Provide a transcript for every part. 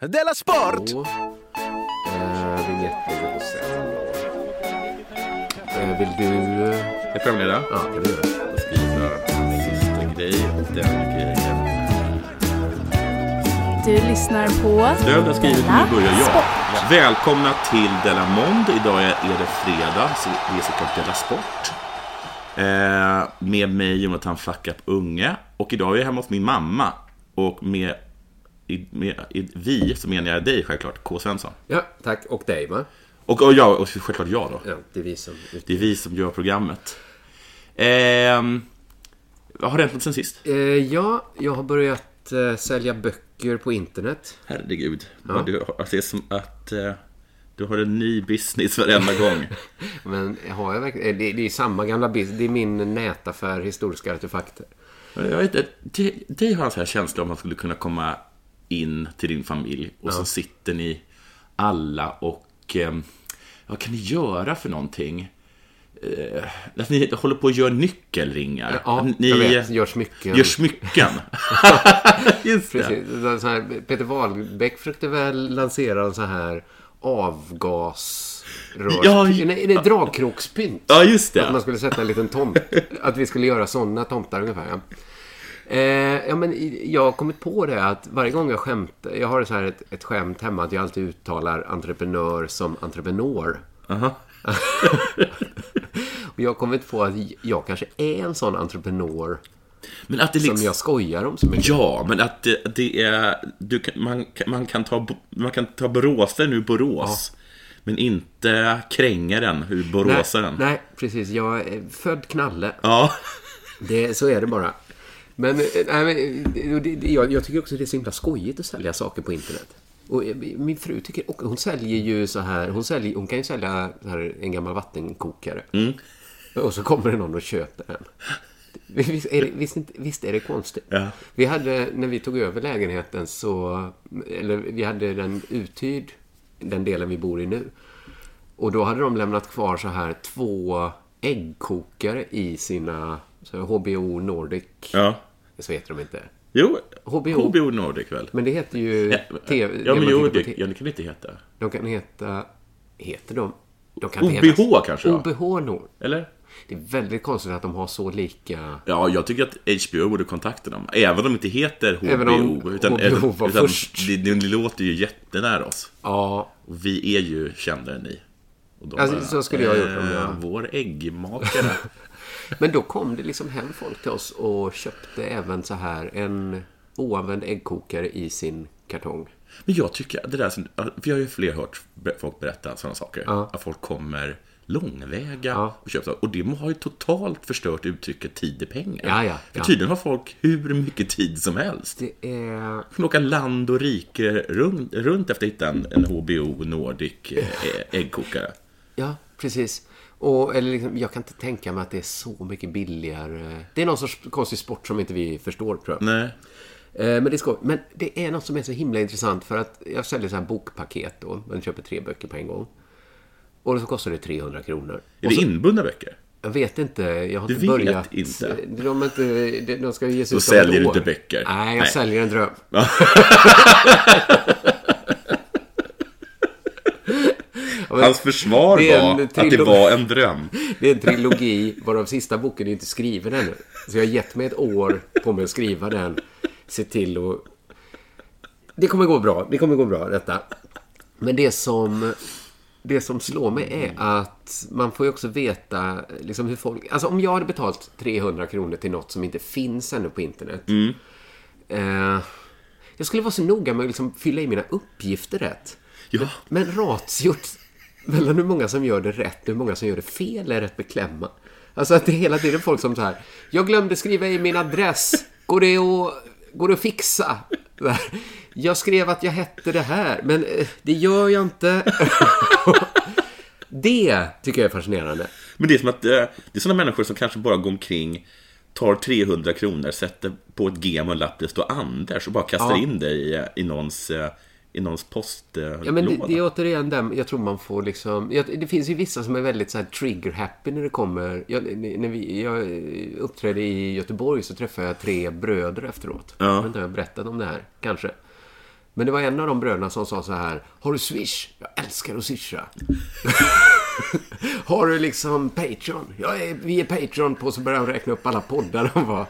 Della Sport! Jo. Eh, Vinjetter och sen... Eh, vill du... eh, Är programledare? Ja, kan du göra. Då ska vi göra en sista grej och den grejen. Du lyssnar på Död har skrivit, Della nu börjar jag. Sport. Välkomna till Della Mond. Idag är är det fredag, så det är såklart Della Sport. Eh, med mig Jonathan Fuckup Unge. Och idag är jag hemma hos min mamma. Och med, i, med i, vi så menar jag dig självklart, K. Svensson. Ja, tack. Och dig, va? Och, och jag, och självklart jag då. Ja, det är vi som... Det är vi som gör programmet. Ehm, vad har hänt något sen sist? Eh, ja, jag har börjat eh, sälja böcker på internet. Herregud. Ja. Du, har- alltså, det är som att eh, du har en ny business varenda gång. Men har jag verkligen... eh, Det, det är samma gamla business. Det är min nätaffär, historiska artefakter. Men Jag vet inte, det, det har en sån här känsla om att man skulle kunna komma in till din familj och så sitter ni alla och eh, vad kan ni göra för någonting? Eh, Att ni håller på och gör nyckelringar. Ja, Att jag vet. Gör smycken. Gör smycken. Just det. Precis. Så- Så här, Peter Wahlbeck försökte väl lansera en så här avgasrör... Ja, ju- Nej, det är dragkrokspynt. Ja, just det. Att man skulle sätta en liten tomt. Att vi skulle göra sådana tomtar ungefär. Ja. Eh, ja, men i- jag har kommit på det att varje gång jag skämtar, jag har så här ett, ett skämt hemma att jag alltid uttalar entreprenör som entreprenör. Aha. Och jag har kommit på att jag kanske är en sån entreprenör Men att det liksom... som jag skojar om så mycket. Ja, men att det, att det är... Du kan, man, kan- man, kan ta, Bo- man kan ta boråsen ur Borås. Men inte krängaren ur boråsaren. Nej, precis. Jag är född knalle. Ja. Det, så är det bara. Men, eh, nej, men eh, det, det, jag, jag tycker också det är så himla skojigt att sälja saker på internet. Och eh, min fru tycker och hon säljer ju så här, hon, säljer, hon kan ju sälja så här, en gammal vattenkokare. Och så kommer det någon och köper den. Visst är det, visst, inte- visst är det konstigt? Ja. Vi hade, när vi tog över lägenheten så, eller vi hade den uthyrd, den delen vi bor i nu. Och då hade de lämnat kvar så här två äggkokare i sina så här, HBO Nordic. ja. Så heter de inte. Jo, HBO. HBO Nordic väl? Men det heter ju TV. det ja, man men jo, tittar på det, te- ja, det kan det inte heta. De kan heta, heter de? de kan inte heta- OBH kanske? då? OBH Nord. Eller? Det är väldigt konstigt att de har så lika. Ja, jag tycker att HBO borde kontakta dem. Även om det inte heter HBO. Även om utan, HBO var utan först. Det, det låter ju jättenära oss. Ja, Och vi är ju kändare än ni. Och de Alltså, så skulle jag ha gjort om jag- eh, Vår äggmakare. Men då kom det liksom hem folk till oss och köpte även så här en oanvänd äggkokare i sin kartong. Men jag tycker att det där, som- vi har ju fler hört folk berätta sådana saker. Att folk kommer långväga Ja. och köper saker. Och det har ju totalt förstört uttrycket tid är pengar. Ja, ja, För ja. tydligen har folk hur mycket tid som helst. Det är... De kan åka land och rike runt, runt efter att hitta en, en HBO Nordic eh, äggkokare. Ja, precis. Och, eller liksom, jag kan inte tänka mig att det är så mycket billigare. Det är någon sorts konstig sport som inte vi förstår, tror jag. Nej. Eh, Men det, är skoj. men det är något som är så himla intressant för att jag säljer så här bokpaket då. Man köper tre böcker på en gång. Och så kostar det 300 kronor. Är det inbundna böcker? Jag vet inte. Jag har Du inte vet börjat. inte. De, är inte, de- de ska ju ges ut om säljer ett du år. inte böcker. Nej, jag Nej. säljer en dröm. Ja, men Hans försvar det är en var att det trilogi. var en dröm. Det är en trilogi varav sista boken är inte skriven ännu. Så jag har gett mig ett år på mig att skriva den. Se till och... Det kommer gå bra. Det kommer gå bra detta. Men det som... Det som slår mig är att man får ju också veta liksom hur folk... Alltså om jag hade betalt 300 kronor till något som inte finns ännu på internet. Eh, jag skulle vara så noga med att liksom fylla i mina uppgifter rätt. Ja. Men ratiot mellan hur många som gör det rätt och hur många som gör det fel är rätt beklämmande. Alltså att det är hela tiden folk som så här, jag glömde skriva i min adress, går det att, går det att fixa? Så här, Jag skrev att jag hette det här, men eh, det gör jag inte. Det tycker jag är fascinerande. Men det är som att eh, det är sådana människor som kanske bara går omkring, tar 300 kronor, sätter på ett gem och en lapp där det står Anders och bara kastar Ja. in det i, eh, i någons, eh, i någons eh, postlåda. Ja, men det, det är återigen den, jag tror man får liksom, jag, det finns ju vissa som är väldigt så här trigger-happy när det kommer, jag, när vi, jag eh, uppträdde i Göteborg så träffade jag tre bröder efteråt. Ja. Jag vet inte om jag har berättat om det här, kanske. Men det var en av de bröderna som sa så här. Har du Swish? Jag älskar att swisha. har du liksom Patreon? Jag är, vi är Patreon på. Så började han räkna upp alla poddar de var.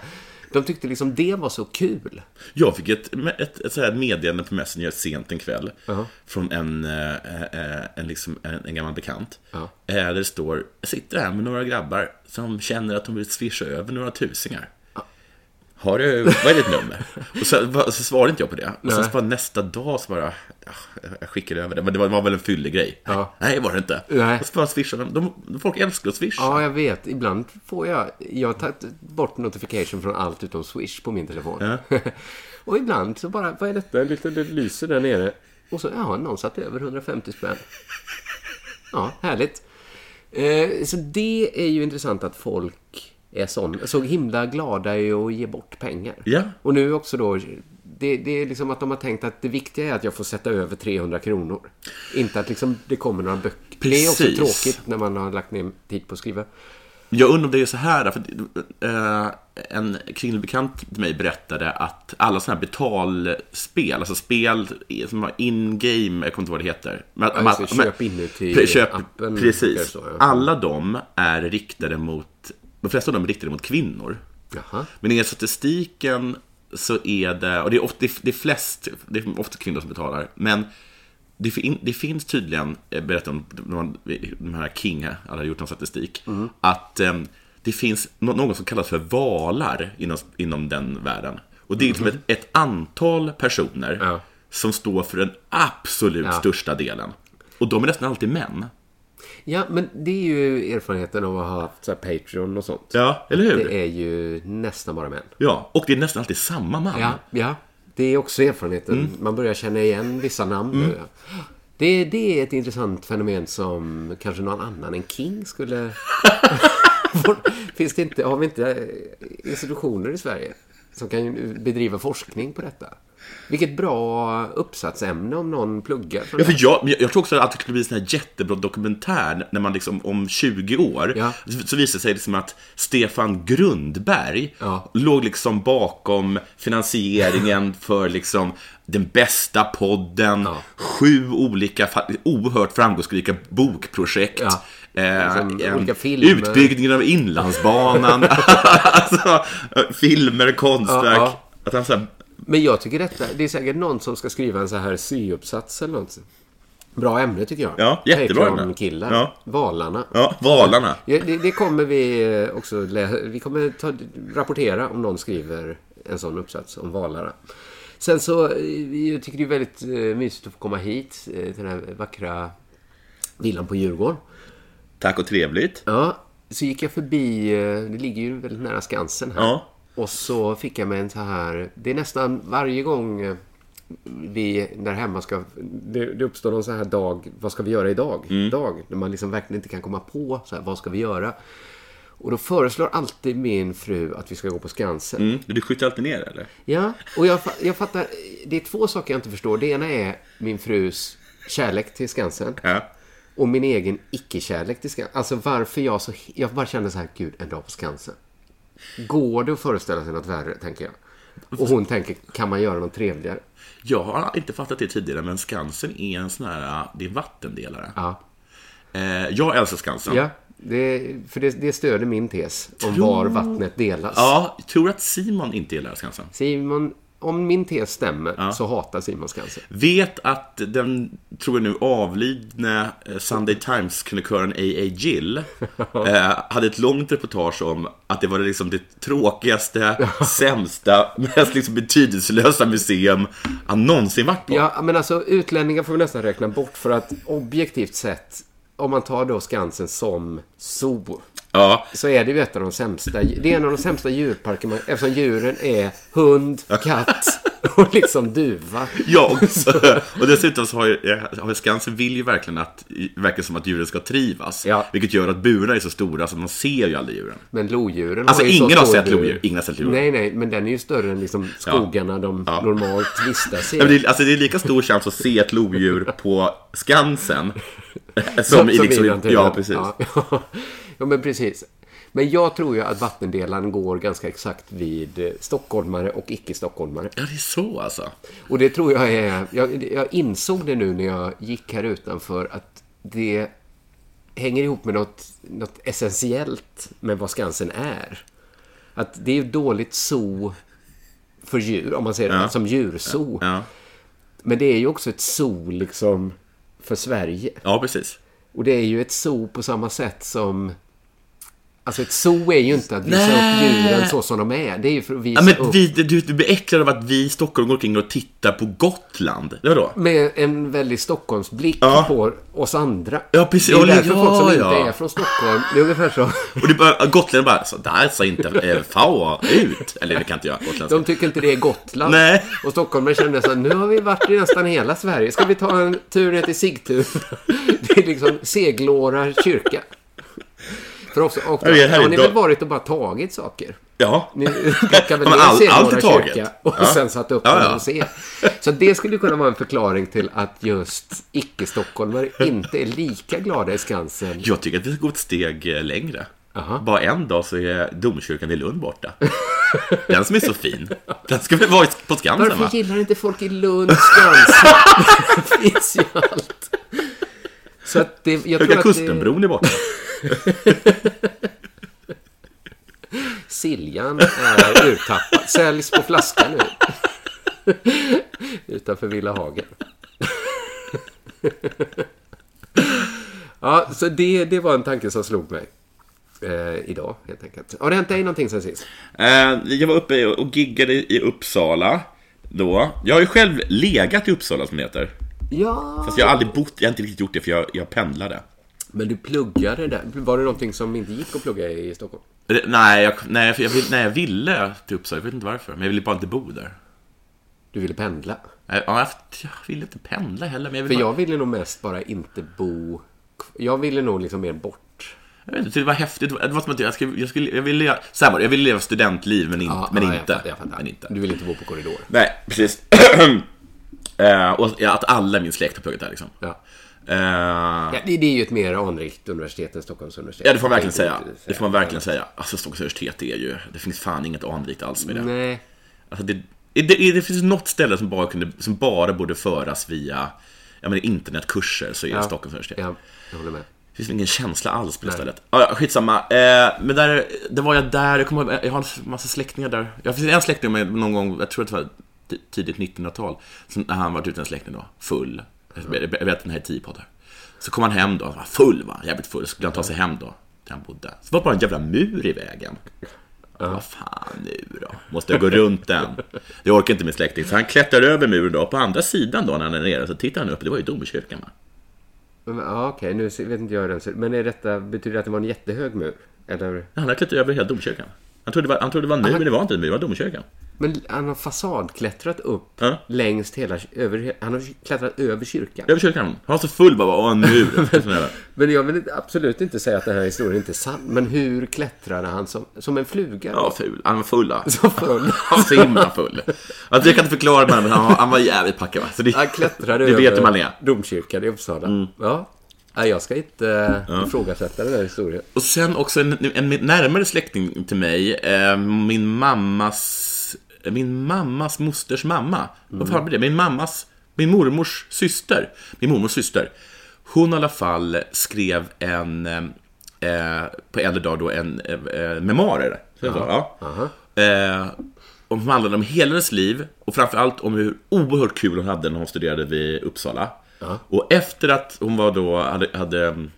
De tyckte liksom det var så kul. Jag fick ett, ett, ett så här meddelande på Messenger sent en kväll från en, eh, eh, en, liksom, en, en gammal bekant. Ja. Eh, Där det står, jag sitter här med några grabbar som känner att de vill swisha över några tusingar. Har du, vad är ditt nummer? Och så, va- så svarade inte jag på det. Och sen Nej. så bara nästa dag så bara, "Ah, jag skickade över det. Men det var, var väl en fyllig grej. Ja. Nej, var det inte. Nej. Och så bara swishade de. de. Folk älskar att swisha. Ja, jag vet. Ibland får jag... Jag har tagit bort notification från allt utom Swish på min telefon. och ibland så bara, vad är detta? En liten, det lyser där nere. Och så, ja, någon satte över 150 spänn. Ja, härligt. Eh, så det är ju intressant att folk är sån, så himla glada i att ge bort pengar. Ja. Och nu också då, det, det är liksom att de har tänkt att det viktiga är att jag får sätta över 300 kronor. Inte att liksom det kommer några böcker. Det är också Precis. tråkigt när man har lagt ner tid på att skriva. Jag undrar om det är så här, för eh, en kringlig bekant till mig berättade att alla sådana här betalspel, alltså spel som har in-game, jag kommer inte ihåg vad det heter. Men, Ja, just det, köp inuti pre- köp, appen, Precis. så, ja. Alla de är riktade mot, de flesta av dem är riktade mot kvinnor. Jaha. Men enligt statistiken så är det, och det är, ofta, det är- det är flest, det är ofta kvinnor som betalar, men det, fin, det finns tydligen, eh, berättar om de här- de här King, alla har gjort någon statistik, att eh, det finns nå- någon som kallas för valar inom, inom den världen. Och det är liksom ett, ett antal personer Ja. som står för den absolut Ja. största delen. Och de är nästan alltid män. Ja, men det är ju erfarenheten av att ha haft så här Patreon och sånt. Ja, eller hur? Det är ju nästan bara män. Ja, och det är nästan alltid samma man. Ja, Mm. ja. Det är också erfarenheten. Man börjar känna igen vissa namn nu. ja. Det, det är ett intressant fenomen som kanske någon annan än King skulle... Vår- Finns det inte, har vi inte eh, institutioner i Sverige som kan ju bedriva forskning på detta? Vilket bra uppsatsämne om någon pluggar. från Ja, för jag, men jag, jag tror också att det skulle bli en sån här jättebra dokumentär när man liksom om 20 år Ja. så, så visar det sig liksom att Stefan Grundberg Ja. låg liksom bakom finansieringen för liksom den bästa podden, Ja. sju olika fa- oerhört framgångsrika bokprojekt. Ja. Eh, Liksom en- olika filmer. Utbyggningen av Inlandsbanan, alltså, eh, filmer, konstverk. Ja, Att han så här, Men jag tycker detta, det är säkert någon som ska skriva en så här C-uppsats eller något. Bra ämne tycker jag. Ja, jättebra ämne. Patreon-killar. Ja. Valarna. ja, valarna. Ja, det, det kommer vi eh, också lä- Vi kommer ta, rapportera om någon skriver en sån uppsats om valarna. Sen så eh, jag tycker det är väldigt eh, mysigt att få komma hit eh, till den här vackra villan på Djurgården. Tack och trevligt. Ja, så gick jag förbi, eh, det ligger ju väldigt nära Skansen här. Ja. Och så fick jag mig en så här, det är nästan varje gång eh, vi där hemma ska, det, det uppstår någon så här dag, vad ska vi göra idag? Mm. Dag, när man liksom verkligen inte kan komma på, så här, vad ska vi göra? Och då föreslår alltid min fru att vi ska gå på Skansen. Mm. Du skjuter alltid ner eller? Ja, och jag, fa- jag fattar, det är två saker jag inte förstår. Det ena är min frus kärlek till Skansen. Ja. Och min egen icke-kärlek till Skansen. Alltså varför jag så... Jag bara kände så här, gud, en dag på Skansen. Går det att föreställa sig något värre, tänker jag. Och hon tänker, kan man göra något trevligare? Jag har inte fattat det tidigare, men Skansen är en sån här, äh, det är en vattendelare. Ja. Eh, jag älskar Skansen. ja det, för det, det stöder min tes om var vattnet delas. Ja, jag tror att Simon inte gillar Skansen. Simon, om min tes stämmer så hatar Simon Skansen. Vet att den, tror jag nu, avlidne eh, Sunday Times-krönikören A.A. Gill eh, hade ett långt reportage om att det var liksom det tråkigaste, sämsta, mest liksom betydelselösa museum han någonsin varit på. Ja, men alltså utlänningar får vi nästan räkna bort för att objektivt sett, om man tar då Skansen som zoo, Ja. så är det ju ett av de sämsta, det är en av de sämsta djurparker man, eftersom djuren är hund, katt och liksom duva. Ja, och, så, och dessutom så har ju eh, har ju Skansen vill ju verkligen att, verkar som att djuren ska trivas. Ja. Vilket gör att burarna är så stora så man ser ju aldrig djuren. Men lodjuren Alltså, har ju så ingen har stor sett bur. lodjur. Ingen har sett lodjur. Nej, nej, men den är ju större än liksom skogarna de Ja. normalt vistas i. Nej, men det, är- alltså, det är lika stor chans att se ett lodjur på Skansen. eh, Som, i liksom, naturen. Ja, precis. Ja. ja, men precis. Men jag tror ju att vattendelaren går ganska exakt vid eh, stockholmare och icke-stockholmare. Ja, det är så alltså. Och det tror jag är... Jag, jag insåg det nu när jag gick här utanför att det hänger ihop med något, något essentiellt med vad Skansen är. Att det är ju dåligt zoo för djur, om man säger det, som djurzoo. Ja, Men det är ju också ett zoo liksom för Sverige. ja precis. Och det är ju ett zoo på samma sätt som... Alltså ett zoo är ju inte att visa Nej. upp djuren så som de är. Det är ju för att Ja, visa men upp vi, du, du blir äcklad av att vi i Stockholm går omkring och tittar på Gotland. Ja, då? med en väldigt Stockholmsblick Ja. på oss andra. Ja, Det precis. är ju Ja, därför folk som ja. inte är från Stockholm, det är ungefär så. Och det bara, gotlänningarna bara, så där ser inte eh, FAO ut. Eller det kan inte jag gotländska. De tycker inte det är Gotland. Nej. Och stockholmare känner så här, nu har vi varit i nästan hela Sverige. Ska vi ta en tur ner till Sigtuna? Det är liksom Seglåra kyrka. För också, och då, Ja, det är härligt. har ni väl Då- varit och bara tagit saker? Ja. Ni plockar väl Ja, men ner all- allt Seglåra är taget. kyrka och Ja. sen satt upp Ja, den ja. och se. Så det skulle kunna vara en förklaring till att just icke-stockholmare inte är lika glada i Skansen. Jag tycker att vi ska gå ett steg eh, längre. Aha. Bara en dag så är domkyrkan i Lund borta. Den som är så fin. Den ska väl vara i- på Skansen va? Varför gillar inte folk i Lund Skansen? det finns ju allt. Så att det, jag tror Höga att det, Kustenbron är borta. Siljan är urtappad. Säljs på flaska nu. Utanför Villa Hagen. ja, så det, det var en tanke som slog mig. Eh, idag, helt enkelt. Har det hänt dig någonting sen sist? Eh, Jag var uppe och giggade i Uppsala då. Jag har ju själv legat i Uppsala som det heter. Ja. Fast jag har aldrig bott, jag har inte riktigt gjort det för jag, jag pendlade. Men du pluggade där. Var det någonting som inte gick att plugga i Stockholm? Eh, Nej, jag, nej, för jag, vill- nej, jag ville till Uppsala, jag vet inte varför. Men jag ville bara inte bo där. Du ville pendla. Eh, Ja, jag, jag ville inte pendla heller. Men jag, ville För bara, jag ville nog mest bara inte bo... Jag ville nog liksom mer bort. jag vet inte, det var häftigt. Det var som att jag skulle, jag skulle, jag ville, leva- så här var det, jag ville leva studentliv men, in, men, ja, jag inte, fattar, jag fattar. men inte. Du ville inte bo på korridor. Nej, precis. Eh, och att alla i min släkt har pluggat där liksom. Ja. Eh, Ja, det, det är ju ett mer anrikt universitet än Stockholms universitet. Ja, det får man verkligen Jag säga. tänkte inte Det får man verkligen säga. Alltså, Stockholms universitet är ju... Det finns fan inget anrikt alls med det. Nej. Alltså, det, det, det finns något ställe som bara, kunde, som bara borde föras via ja, men internetkurser, så är det Stockholms universitet. Ja, jag håller med. Det finns ingen känsla alls på det stället. Ah, ja, skitsamma. Eh, men där, där var jag där. Jag, kommer, ihåg- jag har en massa släktingar där. Jag finns en släkting med någon gång, jag tror att det var t- tidigt 1900-tal. Sen när han var ute en släkting då, full. Jag jag vet den här T-poddar. Så kom han hem då, han var full va, jävligt full. Så skulle han ta sig hem då, där han bodde. Så var det bara en jävla mur i vägen. Vad fan nu då? Måste jag gå runt den? Jag orkar inte min släkting. Så han klättrar över muren då. På andra sidan då när han är nere så tittar han upp. Det var ju domkyrkan va? Men, Ja, okej, nu ser- vet inte jag hur den ser ut. Men är detta, betyder det att det var en jättehög mur? Eller? Han har klättrat över hela domkyrkan. Han trodde det var, han trodde det var nu, men det var inte nu, det var domkyrkan. Men han har fasadklättrat upp Ja. längst hela... Över, han har klättrat över kyrkan. Över kyrkan. Han var så full bara, och en mur. Alltså, Sån där. Men jag vill inte- absolut inte säga att den här historien inte är sann. Men hur klättrade han som, som en fluga? ja, ful. Han var full. va? Så full. Han var så himla full. Alltså, jag kan inte förklara det, men han var, han var jävligt packad. va? Så det, Han klättrade Du vet över hur man Mm. är. domkyrkan i Uppsala. Ja. Nej, jag ska inte ja. ifrågasätta den här historien. Och sen också en, en närmare släkting till mig, eh, min mammas, min mammas mosters mamma. Vad fan blir det? Min mammas, min mormors syster. Min mormors syster. Hon i alla fall skrev en, eh, eh, på äldre dag då, en eh, eh, memoarer. Så jag sa, ja. Eh, och som handlade om hela hennes liv och framförallt om hur oerhört kul hon hade när hon studerade vid Uppsala. Och efter att hon var då, hade, hade mm,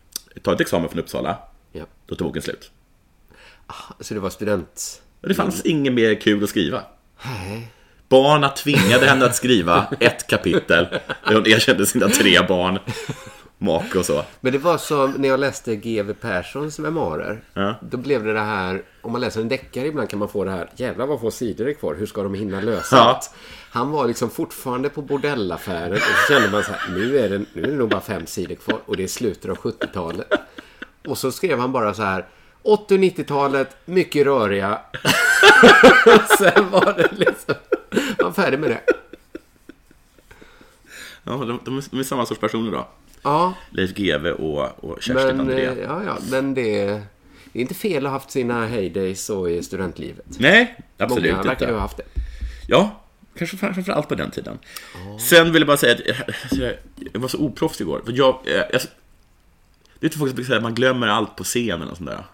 tagit examen från Uppsala Ja. då tog boken slut. Så det var student... Och det fanns inget mer kul att skriva. Nej. Barna tvingade henne att skriva ett kapitel där hon erkände sina tre barn, make och så. Men det var som när jag läste G.V. Perssons memoarer. Ja. Då blev det det här, om man läser en deckare ibland kan man få det här, jävlar vad få sidor det är kvar, hur ska de hinna lösa Ja. allt? Han var liksom fortfarande på bordellaffären och så kände man så här, nu är, det, nu är det nog bara fem sidor kvar och det är slutet av 70-talet. Och så skrev han bara så här, 80 och 90-talet, mycket röriga. och sen var det liksom, var färdig med det. Ja, de, de, är- de är samma sorts personer då. Ja, Leif GW och, och Kerstin men, eh, André. ja, ja, men det... Det är inte fel att ha haft sina heydays så i studentlivet. Nej, absolut Många verkar inte. ju ha haft det. Ja, kanske fram- framför allt på den tiden. Sen vill jag bara säga att alltså, jag- jag var så oproffsig igår. För jag, eh, jag, det är inte folk som brukar säga att man glömmer allt på scenen och sånt där.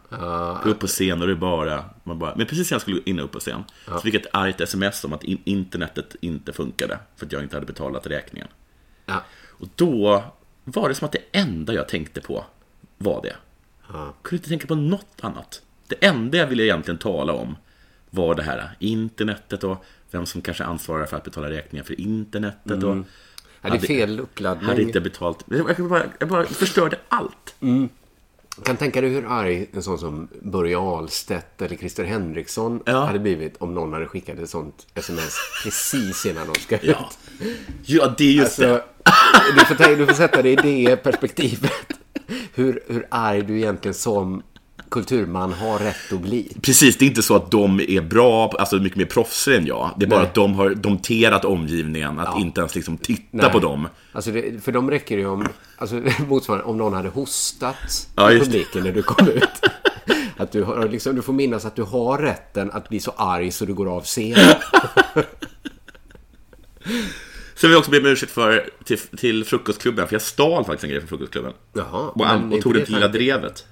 Gå upp på scen och det är bara, man bara... Men precis när jag skulle in och upp på scen så fick jag ett argt sms om att in, internetet inte funkade. För att jag inte hade betalat räkningen. Ja. Och då var det som att det enda jag tänkte på var det. Ja. Kunde inte tänka på något annat. Det enda jag ville egentligen tala om var det här internetet och vem som kanske ansvarar för att betala räkningar för internetet. Och Mm. Ja, det är fel uppladdning. hade inte betalt. Jag bara, jag bara förstörde allt. Mm. Kan tänka dig hur arg en sån som Börje Ahlstedt eller Christer Henriksson Ja. hade blivit om någon hade skickat ett sånt sms precis innan de ska ut. Ja, ja det är just Så, du, får ta, du får sätta dig i det perspektivet. Hur, hur arg du egentligen som kulturman har rätt att bli. Precis, det är inte så att de är bra, alltså mycket mer proffsiga än jag. Det är bara att de har domterat omgivningen, att inte ens liksom titta på dem. Alltså det, för dem räcker det ju om, alltså motsvarande om någon hade hostat Ja, i just det. publiken när du kom ut. Att du, har, liksom, du får minnas att du har rätten att bli så arg så du går av scenen. Sen vill jag också be om ursäkt för, till, till frukostklubben, för jag stal faktiskt en grej från frukostklubben. Jaha, och, an- men och tog inte det till det lilla drevet.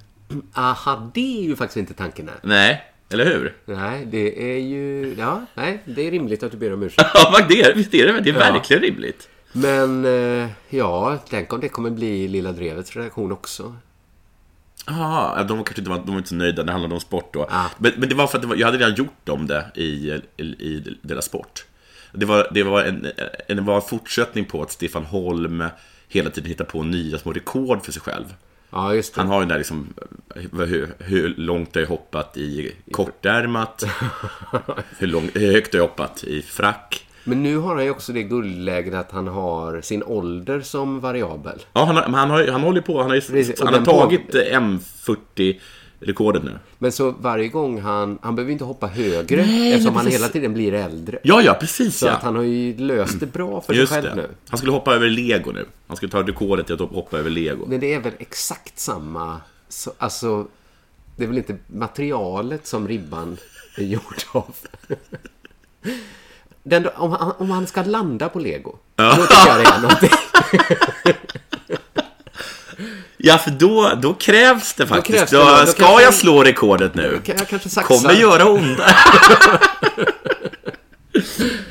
Aha, det är ju faktiskt inte tanken här. Nej, eller hur? Nej, det är ju... Ja, nej, det är rimligt att du ber om ursäkt. Ja, vad det är, visst är det väl? Det är verkligen rimligt. Men eh, ja, tänk om det kommer bli Lilla Drevets redaktion också. Jaha, de var kanske inte, var, de var inte så nöjda, det handlade om sport då. Men, men det var för att det var, jag hade redan gjort om det i, i, i deras sport. Det var, det, var en, en, det var en fortsättning på att Stefan Holm hela tiden hittar på nya små rekord för sig själv. Ja, just det. Han har ju den där liksom, vad- hur, hur långt har jag hoppat i kortärmat? hur, lång, hur högt har jag hoppat i frack? Men nu har han ju också det guldläget att han har sin ålder som variabel. Ja, han, har, men han, har, ju- han håller ju på, han har, ju, Precis, och han har den tagit eh, M40-rekordet nu. Men så varje gång han... Han behöver inte hoppa högre Nej, eftersom men han precis. hela tiden blir äldre. Ja, ja, precis Så ja. att han har ju löst det bra för Just sig själv det. nu. Han skulle hoppa över lego nu. Han skulle ta rekordet i att hoppa över lego. Men det är väl exakt samma... Så, alltså, det är väl inte materialet som ribban är gjord av? Den, om, han, om han ska landa på lego, då tycker jag det är någonting. Ja, för då, då krävs det faktiskt. krävs det, då, då- då ska kanske- jag slå rekordet nu? Kan jag kanske saxa? Kommer göra onda.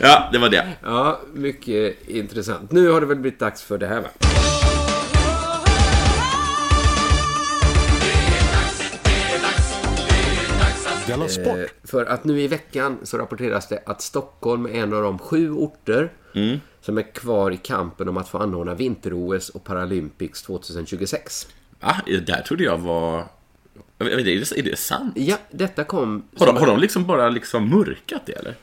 ja, det var det. Ja, mycket intressant. Nu har det väl blivit dags för det här va? Della Sport! Eh, För att nu i veckan så rapporteras det att Stockholm är en av de sju orter som är kvar i kampen om att få anordna vinter-OS och Paralympics 2026. Va? Ah, Det här trodde jag var... Jag vet, inte, är, det, är det sant? Ja, detta kom Har de, har de liksom bara liksom mörkat det, eller?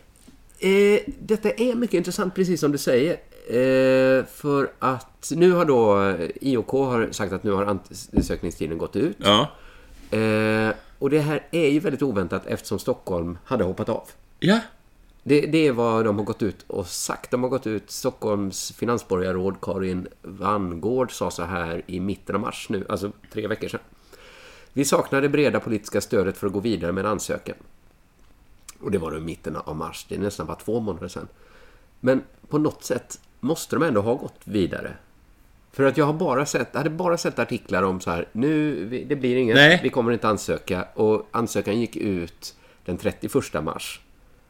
Eh, detta är mycket intressant, precis som du säger. Eh, för att nu har då eh, IOK har sagt att nu har ansökningstiden gått ut. Ja. Eh, och det här är ju väldigt oväntat eftersom Stockholm hade hoppat av. Ja. Det, det är vad de har gått ut och sagt. De har gått ut, Stockholms finansborgarråd Karin Vangård sa så här i mitten av mars nu, alltså tre veckor sedan. Vi saknar det breda politiska stödet för att gå vidare med en ansökan. Och det var då i mitten av mars, det är nästan bara två månader sedan. Men på något sätt måste de ändå ha gått vidare. För att jag har bara sett, hade bara sett artiklar om så här, nu, vi- det blir inget, Nej. vi kommer inte ansöka. Och ansökan gick ut den 31 mars.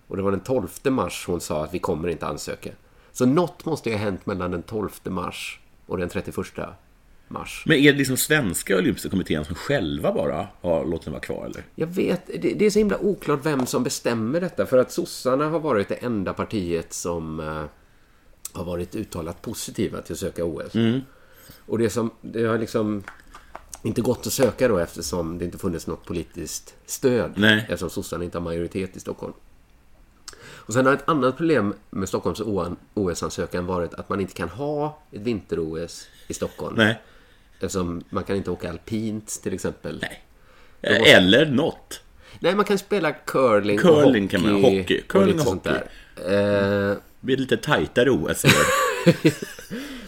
Och det var den 12 mars hon sa att vi kommer inte ansöka. Så något måste ju ha hänt mellan den 12 mars och den 31 mars. Men är det liksom svenska olympiska kommittén som själva bara har låtit den vara kvar, eller? Jag vet, det, det är så himla oklart vem som bestämmer detta för att sossarna har varit det enda partiet som eh, har varit uttalat positiva till att söka OS. Mm. Och det som, det har liksom inte gått att söka då eftersom det inte funnits något politiskt stöd. Nej. Eftersom sossarna inte har majoritet i Stockholm. Och sen har ett annat problem med Stockholms OS-ansökan varit att man inte kan ha ett vinter-OS i Stockholm. Nej. Eftersom man kan inte åka alpint till exempel. Nej. Eller något. Nej, man kan spela curling, och Curling hockey. kan man göra, hockey. Curling lite och sånt hockey. där. Eh, E. Det blir lite tajtare OS i år.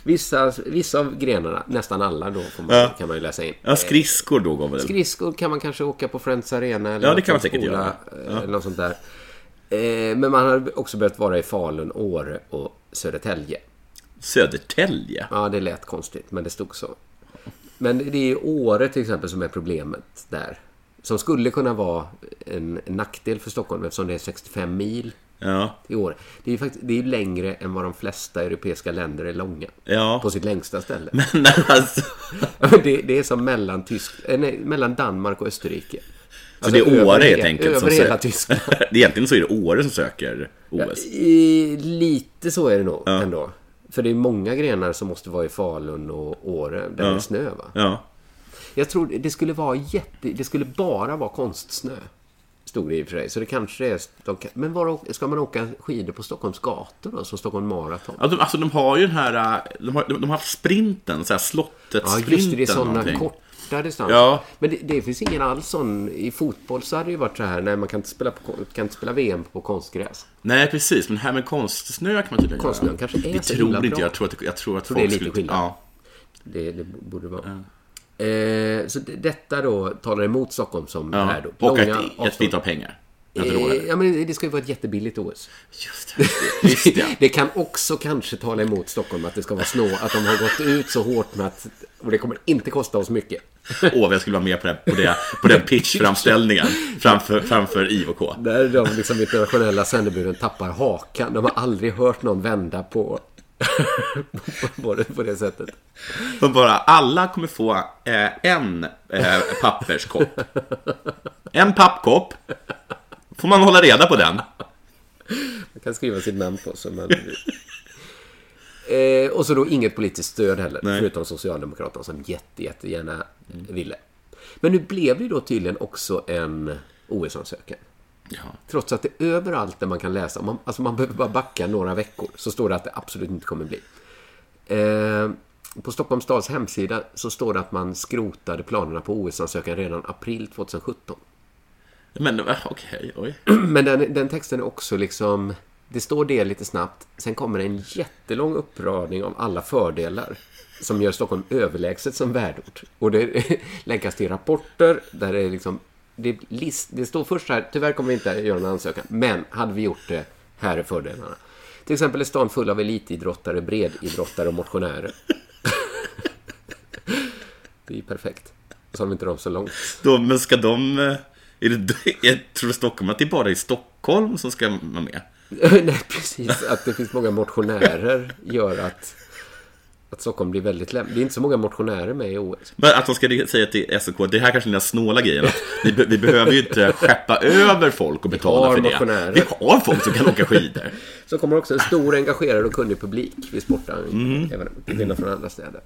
Vissa, vissa av grenarna, nästan alla då, får man, Ja. kan man ju läsa in. Ja, skridskor då går väl. Skridskor kan man kanske åka på Friends Arena eller Ja, det kan man på en säkert göra. eh, Eller något sånt där. Eh, Men man har också behövt vara i Falun, Åre och Södertälje. Södertälje. Ja, det lät konstigt, men det stod så. Men det är ju Åre till exempel som är problemet där. Som skulle kunna vara en en nackdel för Stockholm eftersom det är 65 mil Ja. i Åre. Det är ju faktiskt, det är ju längre än vad de flesta europeiska länder är långa. Ja. På sitt längsta ställe. Men alltså. Ja, men det, det är som mellan, Tysk, eh, nej, mellan Danmark och Österrike. Alltså, Så Alltså, det är Åre helt enkelt. Över som hela sö- Tyskland. Egentligen så är det Åre som söker OS. I, lite så är det nog ändå. För det är många grenar som måste vara i Falun och Åre där det är snö va? Ja. Jag tror det skulle vara jätte... Det skulle bara vara konstsnö. Stod det i och för sig. Så det kanske är... De kan, men var, ska man åka skidor på Stockholms gator då? Som Stockholm Marathon? Alltså, de- alltså de har ju den här, äh, de har, de, de har haft sprinten, så här slottet Ja, sprinten just det. Det är sådana någonting. korta distanser. Ja. Men det, det finns ingen alls sån... I fotboll så hade det ju varit så här. Nej, man kan inte spela, på, kan inte spela VM på konstgräs. Nej, precis. Men det här med konstsnö kan man tydligen Konstsnön göra. kanske är det så tror himla inte bra. jag. Jag tror att, jag tror att det är folk lite skillnad. Ja. Det, det borde det vara. Eh, så det, detta då talar emot Stockholm som ja. här då. Och Långa att, att vi inte har pengar. Jag avstånd. inte råd Eh, Ja, men det ska ju vara ett jättebilligt OS. Just det. Just det. Det kan också kanske tala emot Stockholm att det ska vara snå, att de har gått ut så hårt med att och det kommer inte kosta oss mycket. Åh, vad jag skulle vara med på, det, på, det, på den pitchframställningen framför, framför IVK. Där de liksom internationella sändebuden tappar hakan. De har aldrig hört någon vända på, på, det, på det sättet. De bara, alla kommer få eh, en eh, papperskopp. En pappkopp. Får man hålla reda på den? Man kan skriva sitt namn på så man... Eh, och så då inget politiskt stöd heller, förutom Socialdemokraterna som jätte, jättegärna ville. Men nu blev det ju då tydligen också en OS-ansökan. Ja. Trots att det överallt där man kan läsa, man, alltså man behöver bara backa några veckor, så står det att det absolut inte kommer bli. Eh, på Stockholms stads hemsida så står det att man skrotade planerna på OS-ansökan redan april 2017. Men eh, okej, oj. Men den, den texten är också liksom... Det står det lite snabbt, sen kommer en jättelång uppradning av alla fördelar som gör Stockholm överlägset som värdort. Och det länkas till rapporter där det är liksom... Det, är list, det står först här, tyvärr kommer vi inte göra någon ansökan, men hade vi gjort det, här är fördelarna. Till exempel är stan full av elitidrottare, bredidrottare och motionärer. Det är ju perfekt. Så har de inte de så långt. Då, men ska de... eh, Är det, jag tror Stockholm att det är bara i Stockholm som ska vara med? Nej, precis. Att det finns många motionärer gör att, att Stockholm blir väldigt läm. Det är inte så många motionärer med i OS. Men att de ska säga till SOK, det här kanske är den där snåla grejen, att vi, be- vi behöver ju inte skeppa över folk och betala har för det. motionärer. Vi har folk som kan åka skidor. Så kommer också en stor, engagerad och kunnig publik vid Mhm. sportarrangemanget. även Till skillnad från andra städer.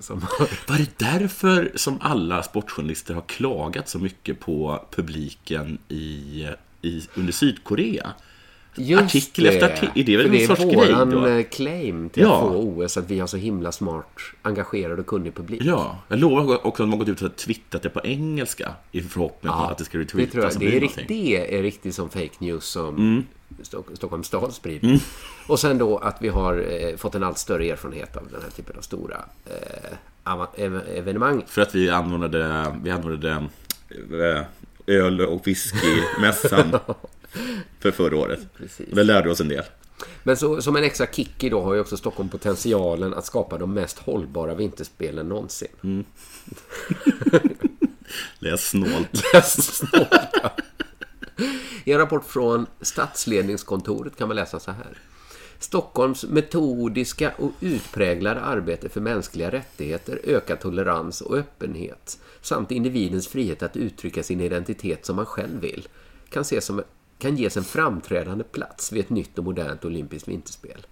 Som har... Var det därför som alla sportjournalister har klagat så mycket på publiken i, i, under Sydkorea? Just Artikel efter artikel. Är det För väl en det är sorts våran grej då? eh, claim till Ja. att få OS, att vi har så himla smart, engagerad och kunnig publik. Ja, jag lovar också att de har gått ut och twittrat det på engelska i förhoppning om att det ska retweetas. Det, tror jag, det, och bli är någonting. Mm. riktigt, det är riktigt som fake news som Stock, Stockholms stad sprider. Och sen då att vi har eh, fått en allt större erfarenhet av den här typen av stora eh, ava- ev- evenemang. För att vi anordnade, vi anordnade eh, öl och whiskymässan för förra året. Precis. Det lärde oss en del. Men så, som en extra kick i då har ju också Stockholm potentialen att skapa de mest hållbara vinterspelen någonsin. Läs snålt. I en rapport från statsledningskontoret kan man läsa så här. Stockholms metodiska och utpräglade arbete för mänskliga rättigheter, ökad tolerans och öppenhet samt individens frihet att uttrycka sin identitet som man själv vill kan, ses som, kan ges en framträdande plats vid ett nytt och modernt olympiskt vinterspel.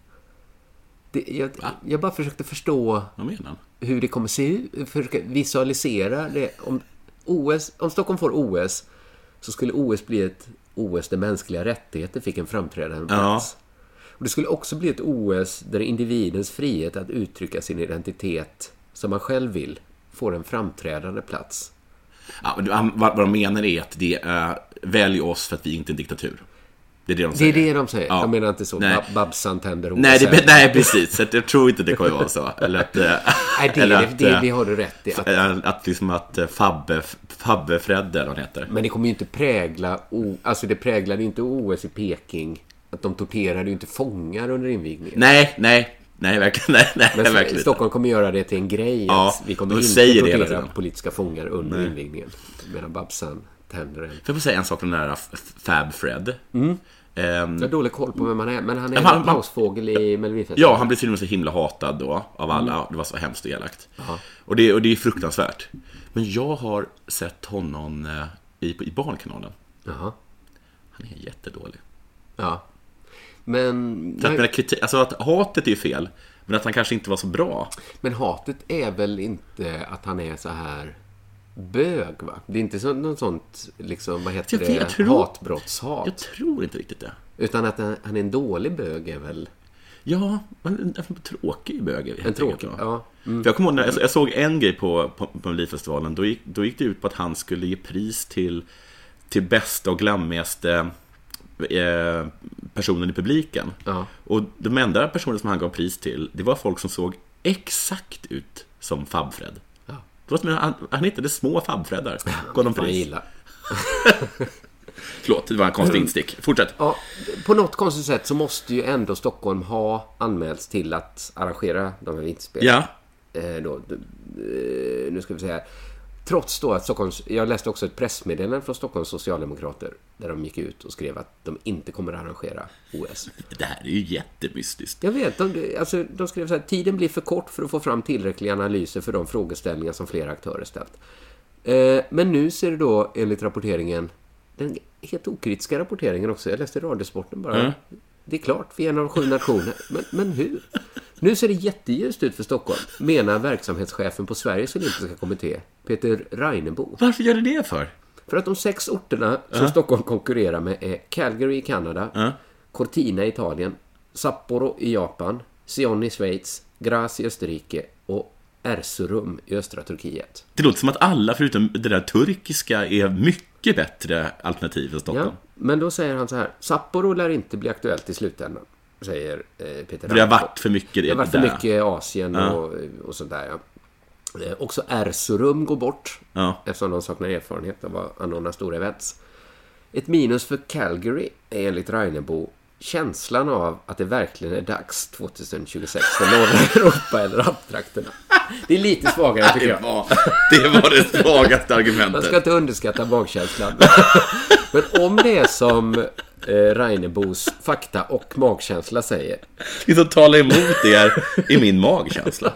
Det, jag, jag bara försökte förstå Vad menar han? hur det kommer se ut, försöka visualisera det. Om, OS, om Stockholm får OS så skulle OS bli ett OS där mänskliga rättigheter fick en framträdande Ja. plats. Och det skulle också bli ett OS där individens frihet att uttrycka sin identitet som man själv vill får en framträdande plats. Ja, men han- vad, vad de menar är att det är välj oss för att vi inte är en diktatur. Det är det de Det är säger. det de säger. Ja. Jag menar inte så. Nej. Nej. Babsan tänder hon Nej, och sen- det, nej, precis. Så att jag tror inte det kommer vara så. Eller att... eh, Nej, det, eller är det, det, eh, det har du rätt i. Att, att, att liksom att eh, Fabbe, Fabbe-Fredde, eller vad han heter. men det kommer ju inte prägla... O, alltså det präglade ju inte OS i Peking. Att de torterade ju inte fångar under invigningen. Nej, nej, nej, verkligen, nej, nej, Men verkligen inte. Stockholm kommer göra det till en grej. Ja, att vi kommer de inte säger det hela tortera tiden. politiska fångar under invigningen. Medan Babsan tänder en. Får jag säga en sak om den där F- Fab Fred? Ehm, Jag har dålig koll på vem han är, men han är men han- en pausfågel i Melodifestivalen. ja, han blev till och med så himla hatad då av alla. Det var så hemskt och elakt. Och det, och det är fruktansvärt. Men jag har sett honom eh, i, på- i Barnkanalen. Jaha. Han är jättedålig. Ja. Men, Så att, men, men, kriti- alltså att hatet är ju fel, men att han kanske inte var så bra. men hatet är väl inte att han är så här bög, va? Det är inte så, någon sånt, liksom, vad heter Jag vet- jag det, tror- hatbrottshat. Jag tror inte riktigt det. Utan att han han är en dålig bög är väl... Ja, men en tråkig bög. helt En enkelt, tråkig, va? ja. Mm. För jag kommer ihåg när jag, jag såg en grej på, på, på Melodifestivalen. Då gick, då gick det ut på att han skulle ge pris till, till bästa och glammigaste eh, personen i publiken. Ja. Och de enda personer som han gav pris till, det var folk som såg exakt ut som Fabfred. Ja. Det var som, han, han hittade små Fabfreddar. Gav dem Fan, jag pris. gillar. Förlåt, det var en konstig instick. Fortsätt. Ja, på något konstigt sätt så måste ju ändå Stockholm ha anmälts till att arrangera de här vinterspelen. Ja. Eh, då, d- eh, nu ska vi se här. Trots då att Stockholms... Jag läste också ett pressmeddelande från Stockholms socialdemokrater där de gick ut och skrev att de inte kommer att arrangera OS. Det här är ju jättemystiskt. Jag vet, de, alltså, de skrev så här, tiden blir för kort för att få fram tillräckliga analyser för de frågeställningar som flera aktörer ställt. Eh, men nu ser det då, enligt rapporteringen, den helt okritiska rapporteringen också, jag läste Radiosporten bara, det är klart, vi är en av sju nationer, men, men hur? Nu ser det jätteljust ut för Stockholm, menar verksamhetschefen på Sveriges olympiska kommitté, Peter Reinebo. Varför gör du det för? För att de sex orterna som Stockholm konkurrerar med är Calgary i Kanada, Cortina i Italien, Sapporo i Japan, Sion i Schweiz, Graz i Österrike och Erzurum i östra Turkiet. Det låter som att alla förutom det där turkiska är mycket bättre alternativ än Ja, Stockholm. men då säger han så här, Sapporo lär inte bli aktuellt i slutändan, säger eh, Peter För det har Reinfeldt. varit för mycket det, Det har varit för där. mycket Asien och, och sånt där. Ja. Eh, Också Erzurum går bort Ja. eftersom de saknar erfarenhet av att anordna stora events. Ett minus för Calgary är enligt Reinebo känslan av att det verkligen är dags 2026 för norra Europa eller Alptrakterna. Det är lite svagare tycker Det jag. var, det var det svagaste Man ska argumentet. inte underskatta magkänslan. Men om det är som eh, Reinebos fakta och magkänsla säger, Det som talar emot det är i min magkänsla.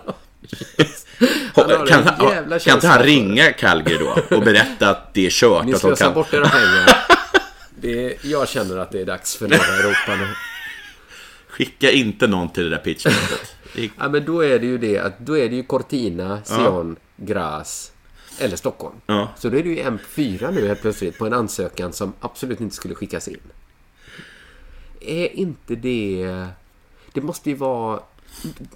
Han har en Kan, han- jävla kan inte känsla han för det. ringa Calgary då och berätta att det är kört? Ni att de slösar kan... bort era pengar. Det är, jag känner att det är dags för norra Europa nu. Skicka inte någon till det där pitchmötet. Det är- Ja, men då är det ju det att då är det ju Cortina, Sion, Graz eller Stockholm. Ja. Så då är det ju M4 nu helt plötsligt på en ansökan som absolut inte skulle skickas in. Är inte det... Det måste ju vara...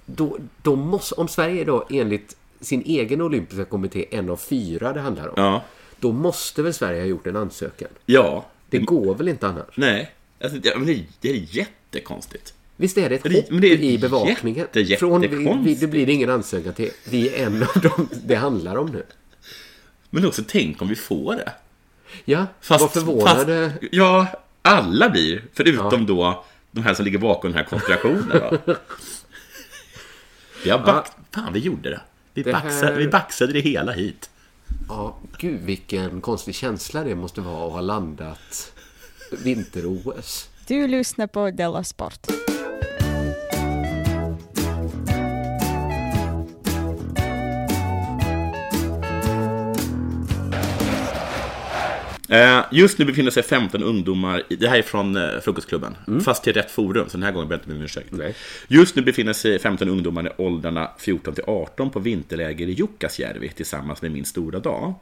Då, då måste, om Sverige då enligt sin egen olympiska kommitté en av fyra det handlar om. Ja. Då måste väl Sverige ha gjort en ansökan? Ja. Det går väl inte annars? Nej. Alltså, det, men det, är- det är jättekonstigt. Visst är det ett det- hopp men det är i bevakningen? jätte- jätte- Från vi, vi, det konstigt. blir ingen ansökan till vi är en av dem det handlar om nu. Men också tänk om vi får det. Ja, vad förvånade... fast- ja, alla blir. Förutom då de här som ligger bakom den här konspirationen. Va? vi har back... Fan, vi gjorde det. Vi, Det här- baxade, vi baxade det hela hit. Ja, gud vilken konstig känsla det måste vara att ha landat vinter-OS. Du lyssnar på Della Sport. Eh, just nu befinner sig 15 ungdomar, i, det här är från eh, Frukostklubben, fast till rätt forum, så den här gången ber jag inte om ursäkt. Mm. Nej. Just nu befinner sig 15 ungdomar i åldrarna 14 till 18 på vinterläger i Jukkasjärvi tillsammans med Min stora dag.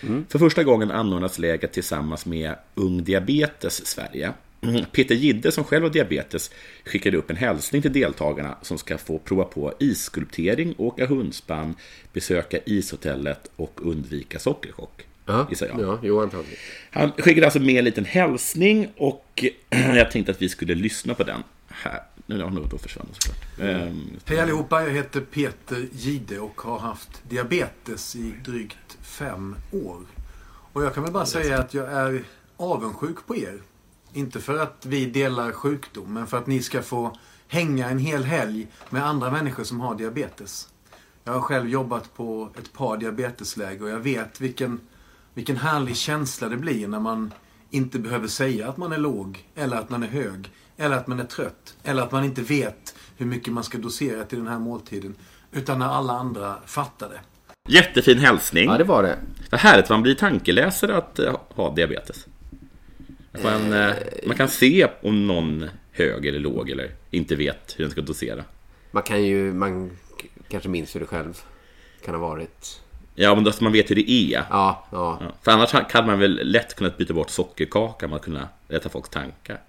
Mm. För första gången anordnas lägret tillsammans med Ung Diabetes Sverige. Mm. Peter Gidde, som själv har diabetes, skickade upp en hälsning till deltagarna som ska få prova på isskulptering, åka hundspann, besöka ishotellet och undvika sockerchock. Ja, gissar jag. ja jo, antagligen. Han skickade alltså med en liten hälsning och jag tänkte att vi skulle lyssna på den här. Nu har något att försvinna såklart. Ehm, Hej allihopa, jag heter Peter Gide och har haft diabetes i drygt fem år. Och jag kan väl bara säga att jag är avundsjuk på er. Inte för att vi delar sjukdom, men för att ni ska få hänga en hel helg med andra människor som har diabetes. Jag har själv jobbat på ett par diabetesläger och jag vet vilken, vilken härlig känsla det blir när man inte behöver säga att man är låg, eller att man är hög, eller att man är trött, eller att man inte vet hur mycket man ska dosera till den här måltiden. Utan när alla andra fattar det. Jättefin hälsning. Ja, det var det. Det här är att man blir tankeläsare att eh, ha diabetes. Att man, eh, man kan se om någon hög eller låg eller inte vet hur den ska dosera. Man kan ju... Man k- kanske minns hur det själv kan ha varit. Ja, men då så man vet hur det är. Ja, ja. Ja, För annars hade man väl lätt kunnat byta bort sockerkakan med att kunna rätta folks tankar.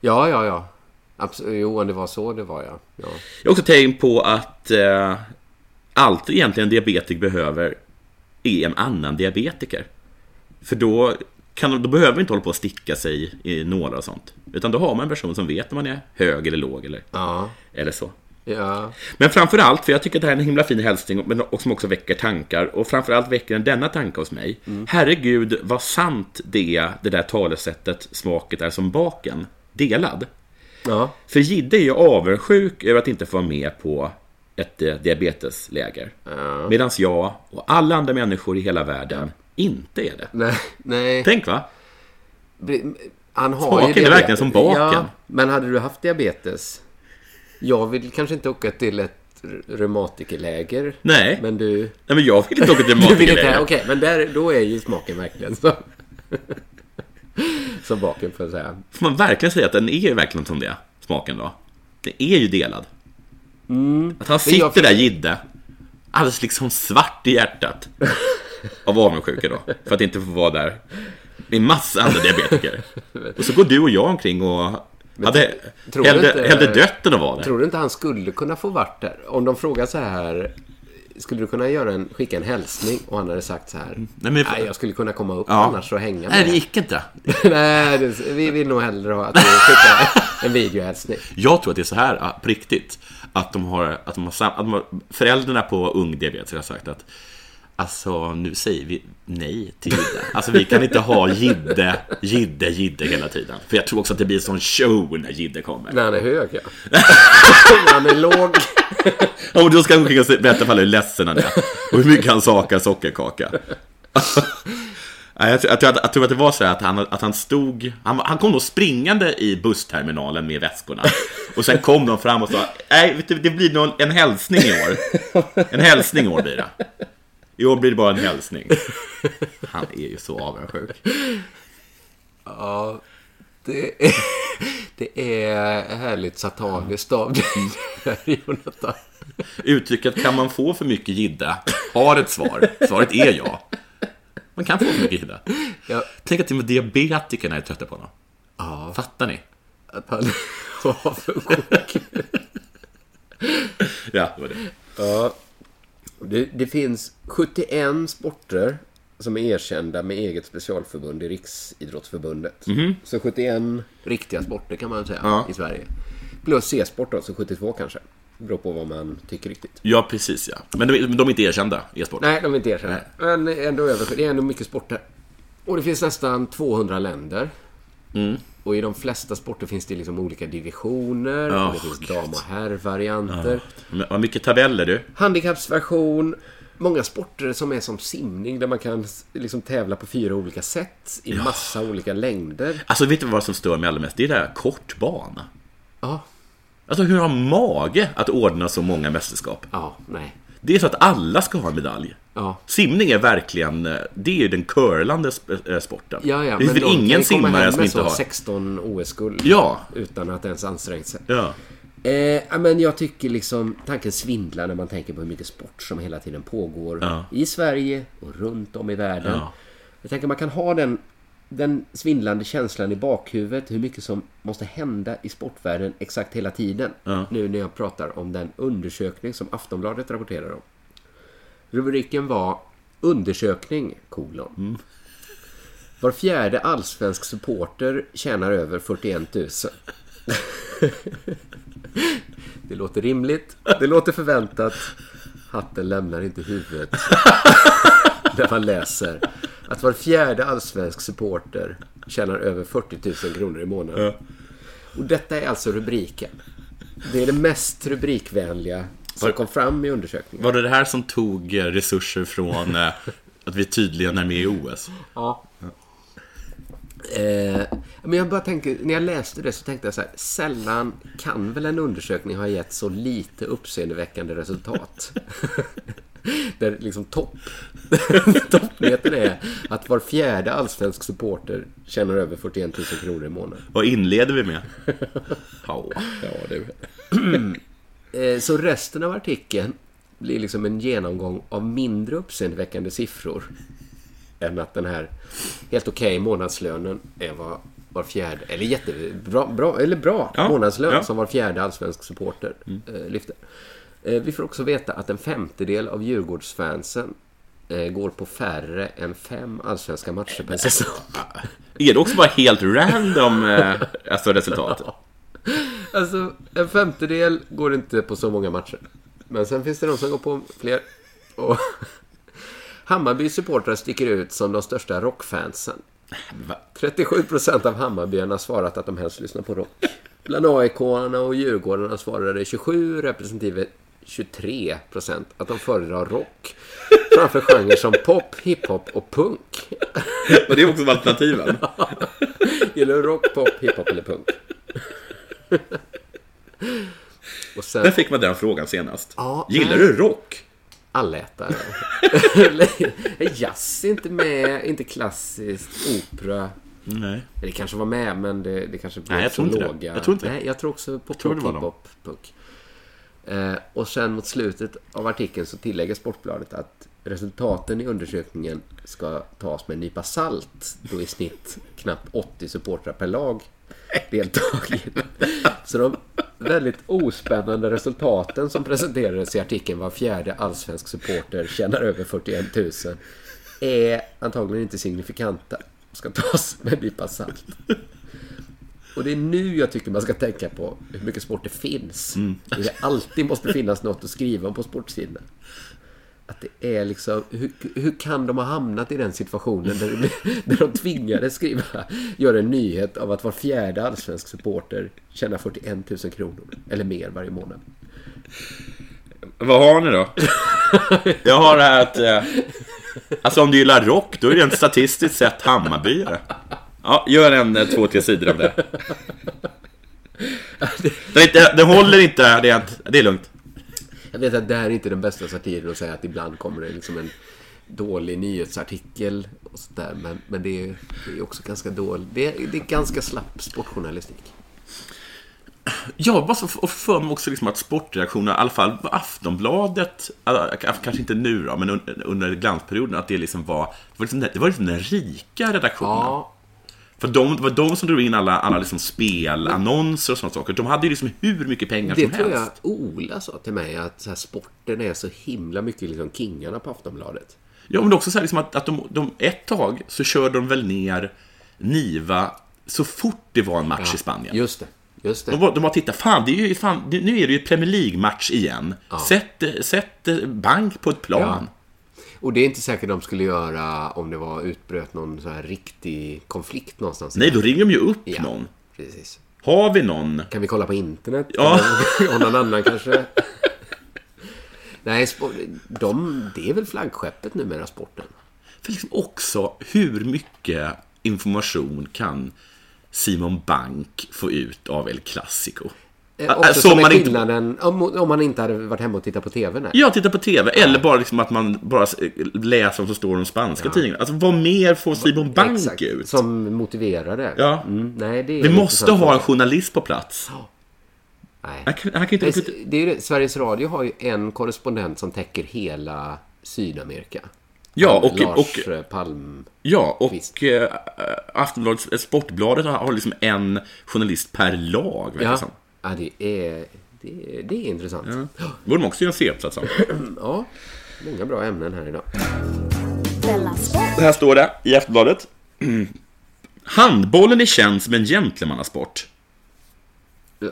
Ja, ja, ja. Abs- jo, om det var så det var, ja. ja. Jag har också tänkt på att eh, allt egentligen en diabetiker behöver är en annan diabetiker. För då, kan, de- då behöver vi inte hålla på att sticka sig i nålar och sånt. Utan då har man en person som vet om man är hög eller låg eller, Ja, eller så. ja. Men framför allt, för jag tycker att det här är en himla fin hälsning men och som också väcker tankar. Och framför allt väcker den denna tanke hos mig. Herregud, vad sant det, det där talesättet smaket är som baken, delad. ja. För Jidde är ju avundsjuk över att inte få vara med på ett eh, diabetesläger. Medan jag och alla andra människor i hela världen inte är det. Nej, nej. Tänk va? Bli- Han har Smaken ju är diabetes. verkligen som baken. Ja, men hade du haft diabetes? Jag vill kanske inte åka till ett r- reumatikerläger. Nej. Men du... Nej men jag vill inte åka till Du vill inte... Okej, matkillar. men där, då är ju smaken verkligen så... som baken, får jag säga. Får man verkligen säga att den är ju verkligen som det, smaken då? Den är ju delad. Att han Mm. Men sitter jag- där Jidde, alldeles liksom svart i hjärtat. Av avundsjuka då, för att inte få vara där. Det är massa andra diabetiker. Och så går du och jag omkring och hade tror du hellre, inte- hellre dött än att vara där. Tror du inte han skulle kunna få vart där? Om de frågar så här... Skulle du kunna göra en, skicka en hälsning och han hade sagt så här? Nej, men- jag skulle kunna komma upp Ja. annars och hänga med. Nej, det gick inte. Nej, det, vi vill nog hellre ha att du skickar en videohälsning. Jag tror att det är så här, ah, på riktigt, att, de har, att, de har, sam- att de har, föräldrarna på ung diabetes har sagt att Alltså, nu säger vi nej till Jidde. Alltså, vi kan inte ha Jidde, Jidde, Jidde hela tiden. För jag tror också att det blir en sån show när Jidde kommer. När han är hög, ja. När han är låg. Ja, Och då ska han gå omkring och se- berätta för alla hur ledsen han är. Och hur mycket han saknar sockerkaka. Ja, Jag tror, jag, tror att, jag tror att det var så här att han, att han stod, han, var- han kom nog springande i bussterminalen med väskorna. Och sen kom de fram och sa, nej, vet du, det blir någon, en hälsning i år. En hälsning i år blir det. I år blir det bara en hälsning. Han är ju så avundsjuk. Ja, det är, det är härligt sataniskt av dig, Jonathan. Uttrycket, kan man få för mycket gidda? Har ett svar. Svaret är ja. Man kan få för mycket gidda. Ja, Tänk att till och med diabetikerna är trötta på honom. Ja. Fattar ni? att han är avundsjuk. Ja, det var det. Ja. Det, det finns 71 sporter som är erkända med eget specialförbund i Riksidrottsförbundet. Så 71 Mhm. riktiga sporter kan man säga Ja. i Sverige. Plus C-sport då, så 72 kanske. Beror på vad man tycker riktigt. Ja, precis ja. Men de, de är inte erkända, e-sport. Nej, de är inte erkända. Men ändå över, det är ändå mycket sporter. Och det finns nästan 200 länder. Mm. Och i de flesta sporter finns det liksom olika divisioner. och det Åh, finns Gud. dam och herrvarianter. Men Vad mycket tabeller du. Handikappsversion. Många sporter som är som simning där man kan s- liksom tävla på fyra olika sätt i massa olika längder. Alltså, vet du vad som stör mig allra mest? Det är det här kortbana. Ja, Alltså, hur har man mage att ordna så många mästerskap? ja, nej. Det är så att alla ska ha en medalj. Ja. Simning är verkligen, eh, det är ju den curlande sp- eh, sporten. Ja, ja, det finns väl någon kan ingen ju komma hem simmare med som inte så har... 16 OS-guld. Ja. Utan att ens ansträngt sig. Ja. Eh, ja, men jag tycker liksom tanken svindlar när man tänker på hur mycket sport som hela tiden pågår Ja. i Sverige och runt om i världen. Ja. Jag tänker man kan ha den, den svindlande känslan i bakhuvudet hur mycket som måste hända i sportvärlden exakt hela tiden. Ja. Nu när jag pratar om den undersökning som Aftonbladet rapporterar om. Rubriken var Undersökning, kolon. Mm. Var fjärde allsvensk supporter tjänar över 41 000. Det låter rimligt, det låter förväntat. Hatten lämnar inte huvudet när man läser att var fjärde allsvensk supporter tjänar över 40 000 kronor i månaden. Och detta är alltså rubriken. Det är det mest rubrikvänliga som kom fram i undersökningen. Var det det här som tog eh, resurser från eh, att vi tydligen är med i OS? Ja. Eh, men jag bara tänker, när jag läste det så tänkte jag så här, sällan kan väl en undersökning ha gett så lite uppseendeväckande resultat? Där liksom topp, toppnyheten är att var fjärde allsvensk supporter tjänar över 41 000 kronor i månaden. Vad inleder vi med? Ja, ja du. Eh, Så resten av artikeln blir liksom en genomgång av mindre uppseendeväckande siffror än att den här helt okej månadslönen är vad var fjärde, eller jättebra, bra, eller bra Ja, månadslön ja. Mm. som var fjärde allsvensk supporter eh, lyfte. Eh, vi får också veta att en femtedel av Djurgårdsfansen eh, går på färre än fem allsvenska matcher per säsong. alltså, eh, Är det också bara helt random eh, alltså resultat? Alltså, en femtedel går inte på så många matcher. Men sen finns det de som går på fler. Och Hammarbys supportrar sticker ut som de största rockfansen. Va? 37% av Hammarbyarna svarat att de helst lyssnar på rock. Bland AIK-arna och Djurgårdarna svarade 27 representive 23% att de föredrar rock framför genrer som pop, hiphop och punk. Och det är också alternativen. Gillar du rock, pop, hiphop eller punk? Och sen... När fick man den frågan senast? Ja, Gillar nej. du rock? allätare. Jazz är inte med, inte klassiskt, opera. Nej. Eller Det kanske var med, men det, det kanske blev Nej, jag så tror inte det. låga. Jag tror inte det. Nej, jag tror också på tror det var dem. hiphop, puck. Eh, och sen mot slutet av artikeln så tillägger Sportbladet att resultaten i undersökningen ska tas med en nypa salt då i snitt knappt 80 supportrar per lag deltagit. Så de väldigt ospännande resultaten som presenterades i artikeln var fjärde allsvensk supporter tjänar över 41 000 är antagligen inte signifikanta och ska tas med en nypa salt. Och det är nu jag tycker man ska tänka på hur mycket sport det finns. Hur det alltid måste finnas något att skriva om på sportsidorna. Att det är liksom, hur, hur kan de ha hamnat i den situationen där, det- där de tvingades skriva, göra en nyhet av att var fjärde allsvensk supporter tjänar 41 000 kronor eller mer varje månad. Vad har ni då? Jag har det här att... Eh, alltså om du gillar rock, då är det en statistiskt sett Hammarbyare. Ja, gör en eh, två, tre sidor om det. Den, är inte, den håller inte, det är, det är lugnt. Jag vet att det här är inte den bästa satiren att säga att ibland kommer det liksom en dålig nyhetsartikel och sådär, men, men det är det är också ganska dålig, det är, det är ganska slapp sportjournalistik. Ja, bara så, och för mig också liksom att sportreaktioner, i alla fall på Aftonbladet, alla- kanske inte nu då, men under, under glansperioden, att det liksom var, det var liksom, den- det var liksom den rika redaktionen. Ja, För de, det var de som drog in alla, alla liksom spelannonser och sådana saker. De hade ju liksom hur mycket pengar Det som tror jag helst. Ola sa till mig, att så här, sporten är så himla mycket liksom kingarna på Aftonbladet. Ja, men det är också så här liksom att, att de, de, ett tag så körde de väl ner Niva så fort det var en match i Spanien. Just det, just det. De, var, de bara tittade, fan, det är ju, fan det, nu är det ju Premier League-match igen. Sätt, eh, sätt eh, bank på ett plan. Och det är inte säkert de skulle göra om det var utbröt någon så här riktig konflikt någonstans. Nej, då ringer de ju upp Ja, någon. Precis. Har vi någon? Kan vi kolla på internet? Ja. Eller- Och någon annan kanske? Nej, sport, de, det är väl flaggskeppet numera, sporten. För liksom också, hur mycket information kan Simon Bank få ut av El Clasico? Eh, Ä- också ä, Ah, så som är man inte- skillnaden, om, om man inte hade varit hemma och tittat på TV. Nej. Ja, titta på TV. Eller bara liksom att man bara s- läser vad som står i de spanska tidningarna. Alltså, vad mer får Simon Bank Exakt, ut? som motiverade. Ja. Mm, nej, det är Vi en måste intressant ha fråga. en journalist på plats. Nej. Han kan, han kan inte... Nej, s- det är ju det. Sveriges Radio har ju en korrespondent som täcker hela Sydamerika. Ja, Han, och- Lars och- eh, Palm. Ja, och Visst. eh, Aftonbladet, eh, Sportbladet har har liksom en journalist per lag, verkar det Ja, som. ja det, är, det, är, det är intressant. Ja. E Det borde man också göra en C-uppsats om. ja. Många bra ämnen här idag. Della Sport. Här står det i Aftonbladet. Handbollen är känd som en gentlemannasport.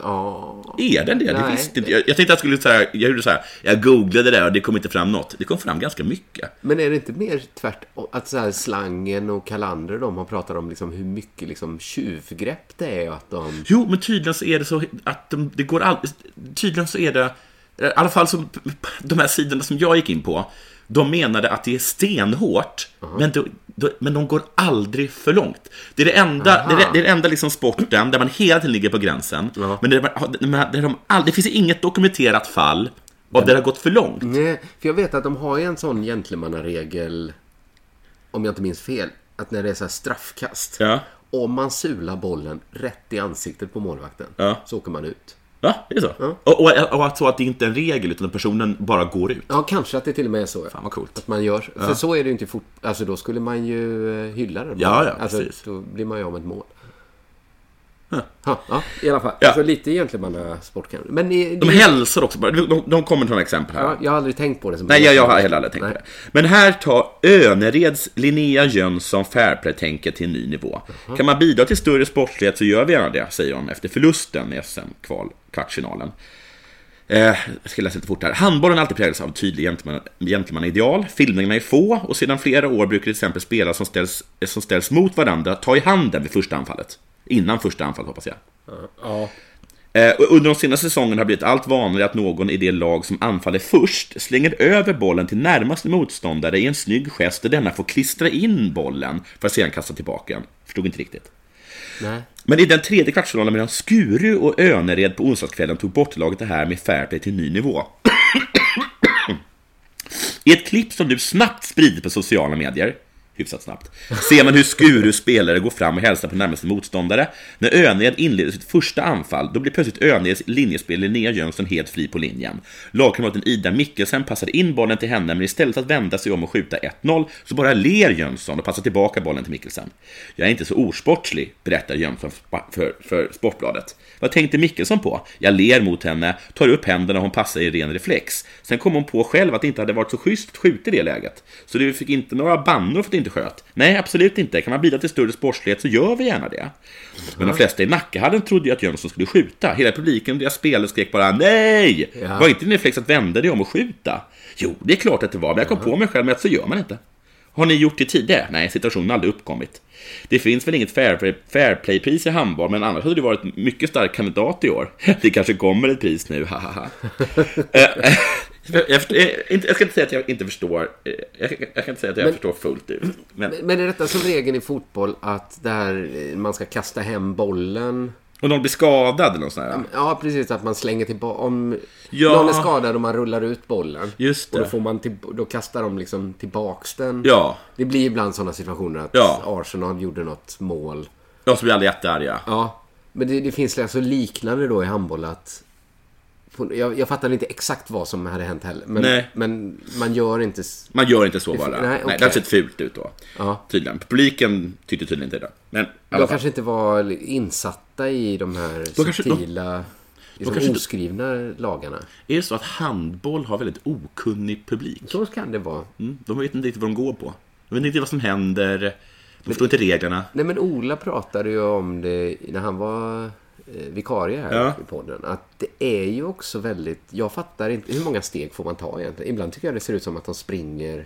Ja, Är den det? det Nej. visste inte. Jag, jag tänkte att jag skulle säga, jag gjorde så här, jag googlade det där och det kom inte fram något. Det kom fram ganska mycket. men är det inte mer tvärtom? Att så här slangen och kalander de har pratat om liksom hur mycket liksom tjuvgrepp det är och att de... Jo, men tydligen så är det så att de, det går all, Tydligen så är det... eh, I alla fall så, de här sidorna som jag gick in på, de menade att det är stenhårt, men, då- då- men de går aldrig för långt. Det är det enda, det är, det- det är den enda liksom sporten där man hela tiden ligger på gränsen, men det, men det, de all, det finns inget dokumenterat fall av där det har gått för långt. Nej, för jag vet att de har ju en sån gentlemannaregel, om jag inte minns fel, att när det är så här straffkast. Ja. Om man sular bollen rätt i ansiktet på målvakten Ja. så åker man ut. Va? Är det så? Och, och, och att, så att det inte är en regel, utan personen bara går ut. Ja, kanske att det till och med är så. Fan vad coolt. Att man gör. För så är det ju inte i fot... Alltså då skulle man ju eh, hylla det. Ja, ja, alltså, precis. Då blir man ju av med ett mål. Ha, ja, i alla fall. Ja. Så lite gentlemannasport kanske. Men ni, De ni- hälsar också bara. De, de kommer ta några exempel här. Mm. ja, jag har aldrig tänkt på det som Nej, jag, jag har heller aldrig tänkt på Nej. det. Men här tar Önereds Linnea Jönsson Fairplay-tänket till en ny nivå. Kan man bidra till större sportslighet så gör vi gärna det, säger de efter förlusten i SM-kvartsfinalen. Eh, jag ska läsa lite fort här. Handbollen har alltid präglats av tydlig gentleman- gentlemannaideal. Filmningarna är få och sedan flera år brukar till exempel spelare som ställs, som ställs mot varandra ta i handen vid första anfallet. Innan första anfallet hoppas jag. Eh, och Under de senaste säsongerna har det blivit allt vanligare att någon i det lag som anfaller först slänger över bollen till närmaste motståndare i en snygg gest där denna får klistra in bollen för att sedan kasta tillbaka den. Förstod inte riktigt. Nej. Men i den tredje kvartsfinalen mellan Skuru och Önered på onsdagskvällen tog bortlaget det här med fairplay till ny nivå. I ett klipp som nu snabbt sprids på sociala medier, hyfsat snabbt, ser man hur Skurus spelare går fram och hälsar på närmaste motståndare. När Önred inleder sitt första anfall, då blir plötsligt Önreds linjespel Linnea Jönsson helt fri på linjen. Lagkamraten Ida Mickelsen passar in bollen till henne, men istället att vända sig om och skjuta 1-0, så bara ler Jönsson och passar tillbaka bollen till Mickelsen. Jag är inte så osportslig, berättar Jönsson för, för, för Sportbladet. Vad tänkte Mickelson på? Jag ler mot henne, tar upp händerna och hon passar i ren reflex. Sen kom hon på själv att det inte hade varit så schysst att skjuta i det läget. Så du fick inte några bannor för att du inte sköt? Nej, absolut inte. Kan man bidra till större sportslighet så gör vi gärna det. Men de flesta i Nackahallen trodde ju att Jönsson skulle skjuta. Hela publiken och deras spelare skrek bara nej! Ja. Var inte din reflex att vända dig om och skjuta? Jo, det är klart att det var, men jag kom på mig själv med att så gör man inte. Har ni gjort det tidigare? Nej, situationen har aldrig uppkommit. Det finns väl inget fairplay- fairplay-pris i handboll, men annars hade det varit en mycket stark kandidat i år. Det kanske kommer ett pris nu, hahaha. Eh, eh, jag, förstår, jag, inte- jag ska inte säga att jag inte förstår, eh, jag, jag, jag kan inte säga att jag förstår fullt ut. Men, Men är detta som regeln i fotboll att där eh, man ska kasta hem bollen? och någon blir skadad eller något sånt där. Ja, precis. Att man slänger tillbaka... Om Ja. någon är skadad och man rullar ut bollen. Just Och det. då, får man till, då kastar de liksom tillbaks den. Ja, Det blir ibland sådana situationer att Ja. Arsenal gjorde något mål. jag som blir aldrig jättearga. Ja, men det, det finns alltså liknande då i handboll att... på- Jag, jag fattar inte exakt vad som hade hänt heller. Men, Nej. men man gör inte... s- Man gör inte så bara. Nej, Nej, okej. det har sett fult ut då. Ja. Tydligen. Publiken tyckte tydligen inte det. Men i alla De fall. kanske inte var insatta i de här kanske- de- subtila, liksom kanske inte- oskrivna lagarna. Är det så att handboll har väldigt okunnig publik? Så kan det vara. Mm, de vet inte riktigt vad de går på. De vet inte vad som händer. De förstår inte reglerna. Nej men Ola pratade ju om det när han var eh, vikarie här Ja. i podden. Att det är ju också väldigt... Jag fattar inte. Hur många steg får man ta egentligen? Ibland tycker jag det ser ut som att de springer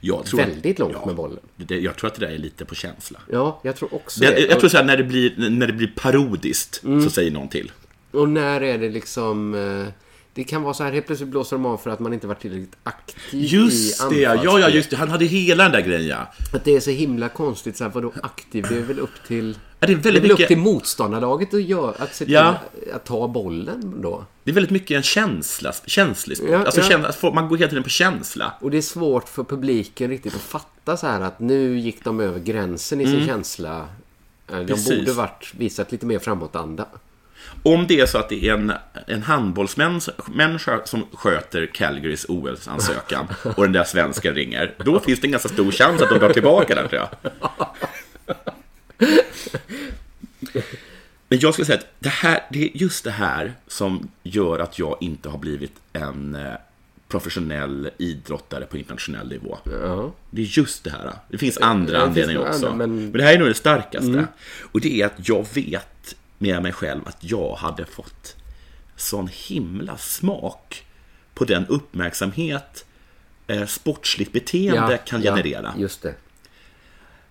Jag tror, väldigt långt med bollen. Det, jag tror att det där är lite på känsla. Ja, jag tror också Det, det. Mm. jag, jag tror så här, när det blir, när det blir parodiskt så säger någon till. och, och när är det liksom... eh, Det kan vara så här, helt plötsligt blåser de av för att man inte varit tillräckligt aktiv Just i det, ja, ja, just det. Han hade hela den där grejen, ja. Att det är så himla konstigt, så här, vadå aktiv? Det är väl upp till... Ja, det är väldigt väl mycket- upp till motståndarlaget att, göra, att se till Ja. att ta bollen då. Det är väldigt mycket en känsla, känslig sport. Ja, alltså, ja. känsla- folk- man går hela tiden på känsla. Och det är svårt för publiken riktigt att fatta så här att nu gick de över gränsen i sin känsla. Eh, De Mm. Precis. borde varit visat lite mer framåtanda. Om det är så att det är en, en handbollsmänniska som sköter Calgarys OS-ansökan och den där svensken ringer, då finns det en ganska stor chans att de drar tillbaka den, tror jag. Men jag skulle säga att det, här, det är just det här som gör att jag inte har blivit en eh, professionell idrottare på internationell nivå. Ja. Det är just det här. Det finns andra det finns anledningar nog också. andra, men... men- Mm. det här är nog det starkaste. Och det är att jag vet med mig själv att jag hade fått sån himla smak på den uppmärksamhet eh, sportsligt beteende kan generera. Just det.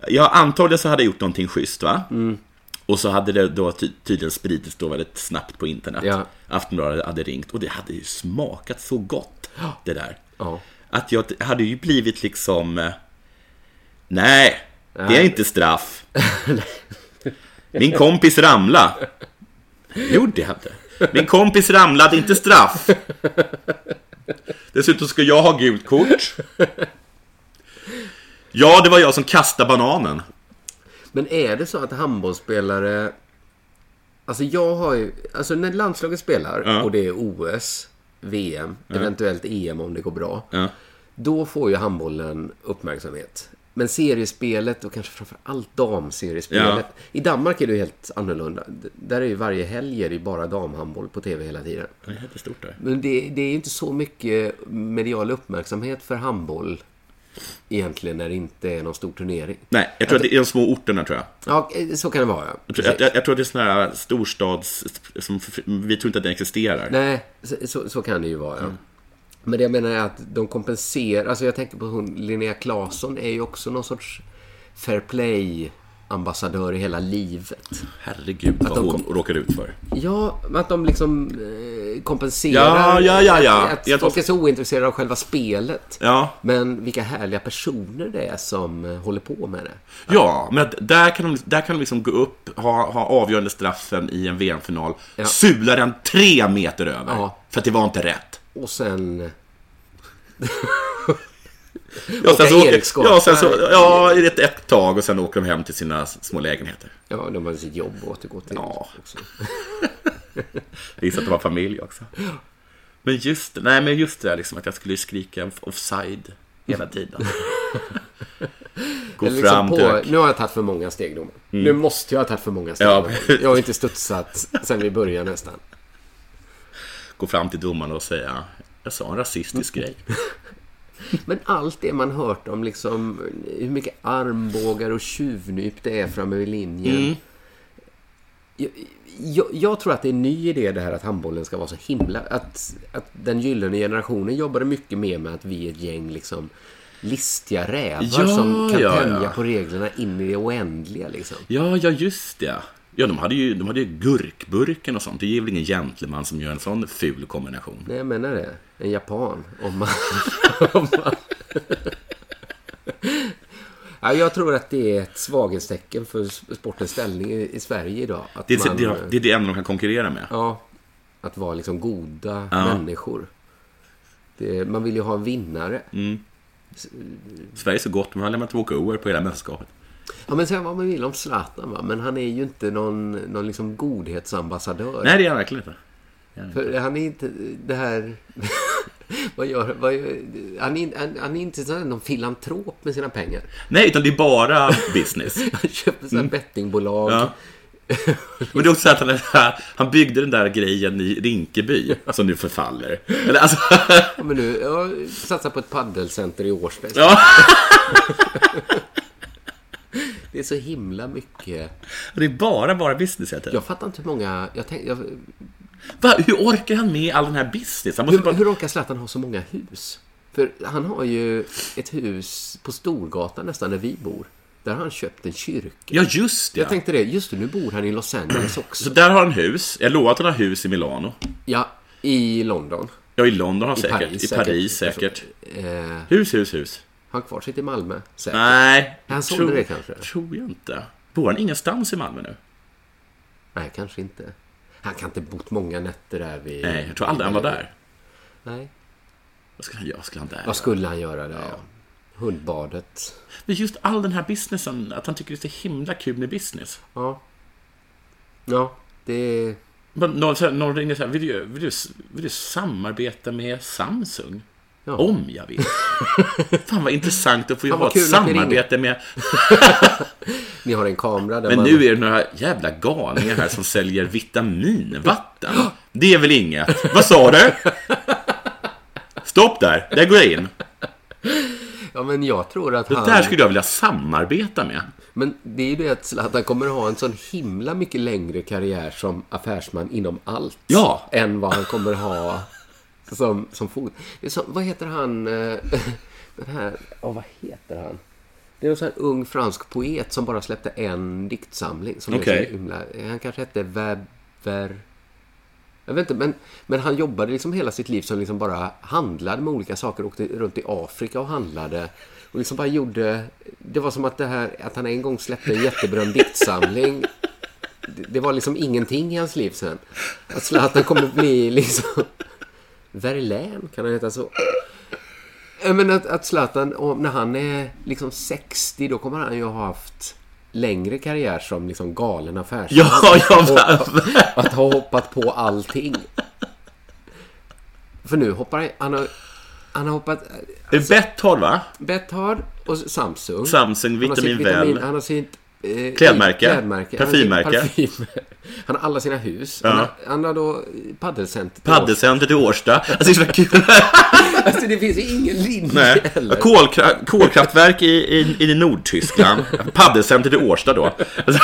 Jag antagligen så hade jag gjort någonting schysst va? Mm. Och så hade det då ty- tydligen spridits då väldigt snabbt på internet. Ja. Aftonbladet hade ringt och det hade ju smakat så gott det där. Ja. Att jag t- hade ju blivit liksom eh, Nej, det är inte straff. Min kompis ramla. Jo, det hade. Min kompis ramlade, inte straff. Dessutom ska jag ha gult kort. Ja, det var jag som kastade bananen. Men är det så att handbollsspelare... Alltså jag har ju... Alltså när landslaget spelar Ja. och det är OS, VM, eventuellt EM om det går bra. Ja. Då får ju handbollen uppmärksamhet. Men seriespelet och kanske framförallt damseriespelet. Ja. I Danmark är det ju helt annorlunda. D- Där är ju varje helg är det ju bara damhandboll på tv hela tiden. Det är jättestort där. Men det, det är inte så mycket medial uppmärksamhet för handboll egentligen när det inte är någon stor turnering. Nej, jag tror att det är de små orterna tror jag. Ja, eh, så kan det vara. ja. Jag tror, jag, jag, jag tror att det är sådana här storstads... Som, vi tror inte att den existerar. Nej, så, så, så kan det ju vara. Ja. Mm. Men det jag menar är att de kompenserar. Alltså jag tänker på hon, Linnea Claesson är ju också någon sorts fair play-ambassadör i hela livet. Herregud vad Att de hon råkar ut för. Ja, men att de liksom eh, Ja, kompenserar. ja, ja, ja. Att, Jag att tror- folk är så ointresserade av själva spelet. Ja. Men vilka härliga personer det är som eh, håller på med det. Ja, men att där kan de, där kan de liksom gå upp, ha, ha avgörande straffen i en VM-final, sula den tre meter över. Ja. För att det var inte rätt. Och sen... Ja, sen så, Eriksson. ja, sen så, ja i ett, ett tag och sen åker de hem till sina små lägenheter. Ja, de har sitt jobb att återgå till. Ja. också. Jag gissar att det var familj också. Men just, nej, men just det där liksom att jag skulle skrika offside hela tiden. Gå Eller liksom fram till... på, nu har jag tagit för många steg domaren. Nu måste jag ha tagit för många steg. Ja, domaren. precis. jag har inte studsat sen vi började nästan. gå fram till domaren och säga jag sa en rasistisk grej. Men allt det man hört om liksom hur mycket armbågar och tjuvnyp det är framme vid linjen. Mm. Jag, jag, jag tror att det är en ny idé det här att handbollen ska vara så himla... Att, att den gyllene generationen jobbade mycket mer med att vi är ett gäng liksom listiga rävar Ja, som kan ja, tänja ja. på reglerna in i det oändliga liksom. Ja, ja just det. Ja, de hade ju, de hade ju gurkburken och sånt. Det är väl ingen gentleman som gör en sån ful kombination. Nej, jag menar det. En japan. Om man... om man... ja, jag tror att det är ett svaghetstecken för s- sportens ställning i, i Sverige idag. Att Det är man, det, det, är det enda de kan konkurrera med. Ja, att vara liksom goda människor. Det, man vill ju ha en vinnare. Mm. Sverige är så gott, man har lämnat walkover på hela mästerskapet. Ja, men säga vad man vill om Zlatan, va? men han är ju inte någon, någon liksom godhetsambassadör. Nej, det är han verkligen inte. För han är inte det här... vad gör, vad gör, han, är, in- han, han är inte sån här någon filantrop med sina pengar. Nej, utan det är bara business. Han köpte sådana bettingbolag. Mm. Ja. Men det är också så att han, är så här- han byggde den där grejen i Rinkeby som nu förfaller. Eller, alltså, Ja, Men nu, jag satsar på ett paddelcenter i Årsberg. Ja. Det är så himla mycket. det är bara, bara business heter det. Jag fattar inte hur många... Jag tänk, jag, Va, hur orkar han med all den här business? Han måste hur, bara... hur orkar Zlatan ha så många hus? För han har ju ett hus på Storgatan nästan där vi bor. Där har han köpt en kyrka. Ja, just det. Jag tänkte det, just det, nu bor han i Los Angeles Så också. där har han hus. Jag lovar att han har hus i Milano. Ja, i London. Ja, i London har han I säkert. Paris I Paris säkert. säkert. Eh, Hus, hus, hus. har han kvar sitt i Malmö? Säkert. Nej. Han sålde det kanske? Tror jag inte. Bor han ingenstans i Malmö nu? Nej, kanske inte. Han kan inte bott många nätter där vid... Nej, jag tror aldrig han var där. Nej. Vad skulle han göra? Skulle han där? Vad skulle han göra där? Ja. Hundbadet. Men just all den här businessen, att han tycker det är så himla kul med business. Ja. Ja, det... Men Någon, så här- någon ringer så här, vill du, vill, du, vill du samarbeta med Samsung? Ja. Om jag vill. Fan vad intressant att få Fan, vad ha ett kul att ni samarbete med... Ni har en kamera där Men man... nu är det några jävla galningar här som säljer vitaminvatten. Det är väl inget? Vad sa du? Stopp där, där går jag in. Ja, men jag tror att Det han... där skulle jag vilja samarbeta med. Men det är ju det att Zlatan kommer ha en sån himla mycket längre karriär som affärsman inom allt. Ja. Än vad han kommer ha som, som fot. Det är som, vad heter han? eh, Den här... Ja, vad heter han? Det är en sån här ung fransk poet som bara släppte en diktsamling. Som är Okej. så himla, han kanske hette Weber... Jag vet inte, men, men han jobbade liksom hela sitt liv som liksom bara handlade med olika saker. Åkte runt i Afrika och handlade. Och liksom bara gjorde... Det var som att det här, att han en gång släppte en jätteberömd diktsamling. Det, det var liksom ingenting i hans liv sen. Att Zlatan kommer bli liksom... Verlaine, kan han heta så? Ja, Men att, att Zlatan, om- när han är liksom 60, då kommer han ju ha haft längre karriär som liksom galen affärsman. Ja, ja, Och- va- Att ha hoppat på allting. För nu hoppar han... Han har, han har hoppat... eh, Det är Betthard, va? Bethard och Samsung. Samsung, Han har sitt Vitamin vitamin- Well. Han har sitt... eh, Klädmärke. Han har sitt Parfymmärke. parfym. Han har alla sina hus. Han, har, han har då paddelcentret. Paddelcentret i Årsta. Alltså, det är så kul. Alltså det finns ju ingen linje Nej. heller. Kolkra- kolkraftverk i, i, i Nordtyskland. Paddelcentret i Årsta då. Alltså,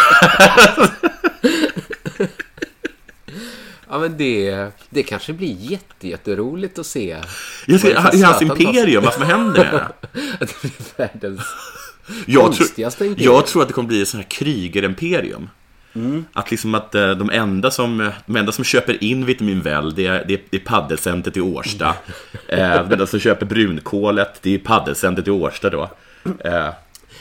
Ja men det, det kanske blir jätte, jätteroligt att se. jag vad det är ska, för I hans Zlatan imperium, vad som händer där? tar- Att det blir världens... Jag, tror- Konstigaste imperium. jag tror att det kommer bli ett sånt här krigerimperium. Mm. Att liksom att eh, de enda som, eh, de enda som köper in vitamin väl, det är, det är, det är paddelcentret i Årsta. Eh, de enda som köper brunkålet, det är paddelcentret i Årsta då. Eh,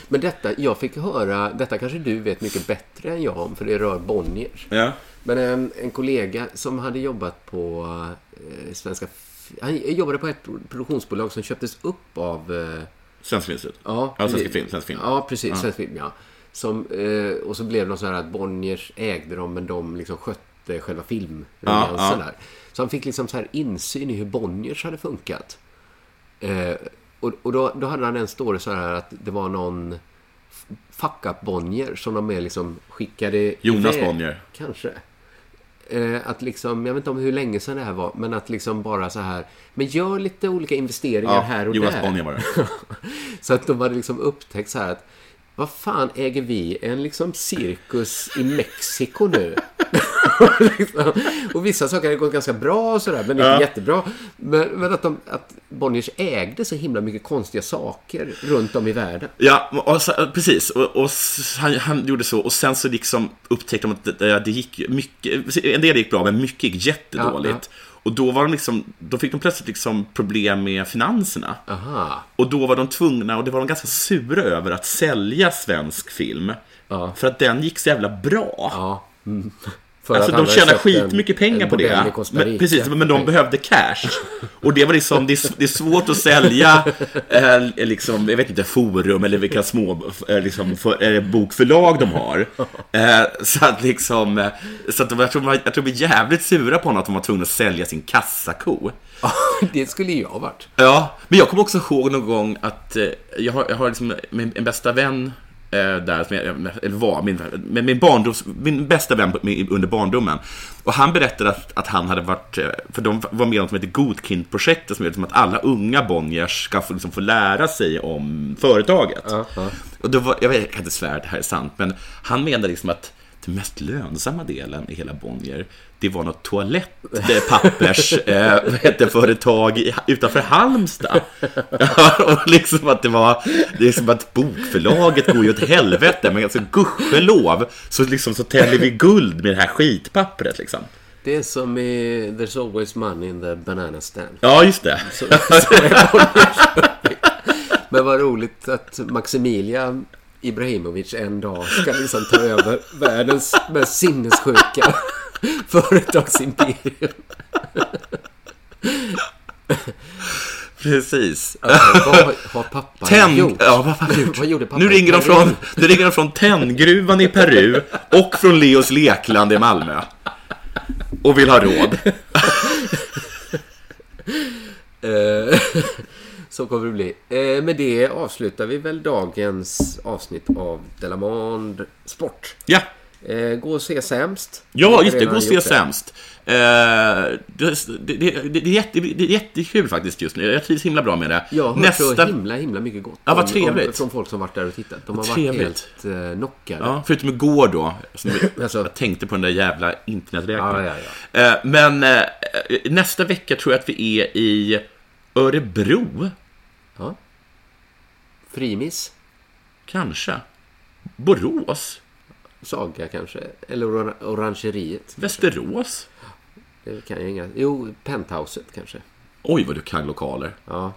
Men detta, jag fick höra, detta kanske du vet mycket bättre än jag om, för det rör Bonniers. ja. Men en, en kollega som hade jobbat på eh, Svenska... F- Han jobbade på ett produktionsbolag som köptes upp av... Eh, Svensk filmslut. ja, ja, svensk precis. film, svensk film. Ja, precis. Svensk film, ja. Som, eh, och så blev det så här att Bonniers ägde dem, men de liksom skötte själva filmruljangsen Ja, ja. där. Så han fick liksom så här insyn i hur Bonniers hade funkat. Eh, och och då, då hade han en story så här att det var någon f- fuck up Bonnier som de med liksom skickade Jonas iväg. Bonnier. Kanske. Eh, att liksom, jag vet inte om hur länge sedan det här var, men att liksom bara så här, men gör lite olika investeringar Ja, här och Jonas där. Bonnier var det. Så att de hade liksom upptäckt så här att vad fan äger vi en liksom cirkus i Mexiko nu? liksom. Och vissa saker hade gått ganska bra och sådär, men inte jättebra. Men, men att, de, att Bonniers ägde så himla mycket konstiga saker runt om i världen. Ja, och, så- precis. Och, och s- han, han gjorde så. Och sen så liksom upptäckte de att det, det gick ju mycket, en del gick bra, men mycket gick jättedåligt. Ja, Och då, var de liksom, då fick de plötsligt liksom problem med finanserna. Aha. Och då var de tvungna, och det var de ganska sura över, att sälja svensk film. Ja. För att den gick så jävla bra. Ja. Mm. För Alltså att han de hade tjänar köpt en- skitmycket pengar en på bordell det. i Costa Men, Rica. precis, men de Nej. behövde cash. Och det var liksom, det är, s- det är svårt att sälja, eh, liksom, jag vet inte, forum eller vilka små eh, liksom, för, eh, bokförlag de har. Eh, så att liksom, eh, så att de, jag, tror, de var- jag tror de var jävligt sura på honom att de var tvungna att sälja sin kassako. Det skulle ju jag ha varit. Ja, men jag kommer också ihåg någon gång att eh, jag har, jag har liksom min, en bästa vän eh, där, som jag, eller var, min, min, min, barndoms, min bästa vän på- min, under barndomen. Och han berättade att, att han hade varit, eh, för de var med i något som heter Godkind-projektet som är liksom att alla unga Bonniers ska få, liksom, få lära sig om företaget. Och då var, jag, vet, jag kan inte svära att det här är sant, men han menade liksom att den mest lönsamma delen i hela Bonnier, det var något eh, toalettpappersföretag eh, utanför Halmstad. Ja, och liksom att det var, liksom att bokförlaget går ju åt helvete, men alltså gudskelov så, liksom, så täller vi guld med det här skitpappret liksom. Det är som i There's always money in the banana stand. Ja, just det. Men vad roligt att Maximilian Ibrahimovic en dag ska liksom ta över världens mest sinnessjuka Äh, företagsimperium. Precis. Alltså, vad har pappa Tenn... gjort? Ja, vad fan har jag gjort? Vad gjorde pappa Äh, nu i ringer de Peru? från, nu ringer de från Tenngruvan i Peru och från Leos Lekland i Malmö. Och vill ha råd. Eh, Så kommer det bli. Eh, Med det avslutar vi väl dagens avsnitt av Delamond Sport. Ja, Eh, gå och se sämst. Jag Ja, har just det. redan Gå och se gjort det. sämst. Eh, det, det, det, det, är jätte, det är jättekul faktiskt just nu. Jag trivs himla bra med det. Jag har hört så Nästa... himla, himla mycket gott. Ja, vad om- trevligt. Om, från folk som varit där och tittat. De har varit Trevligt. helt eh, knockade. Ja, förutom igår då. Som Alltså- jag tänkte på den där jävla interneträkningen. Ja, ja, Eh, Men eh, nästa vecka tror jag att vi är i Örebro. Ja. Frimis, Kanske. Borås? Saga kanske, eller Ora- Orangeriet. Västerås? Det kan jag inga. Jo, Penthouset kanske. Oj, vad du kan lokaler. Ja.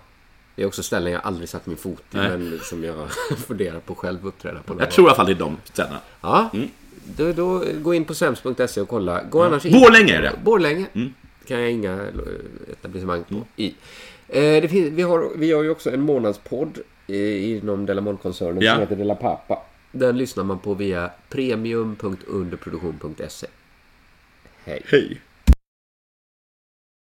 Det är också ställen jag aldrig satt min fot i, Nej. men som jag funderar på själv att uppträda på. någon Jag tror i alla fall det är de ställena. gång. Ja. Mm. Då, då, gå in på sems.se E och kolla. Gå annars in. Borlänge är det. Mm. Borlänge. Kan jag inga eh, etablissemang på. I. Eh, det finns, vi, har, vi har ju också en månadspodd eh, inom Delamol-koncernen Ja. som heter Della Pappa. Den E. lyssnar man på via premium.underproduktion.se. Hej. Hej.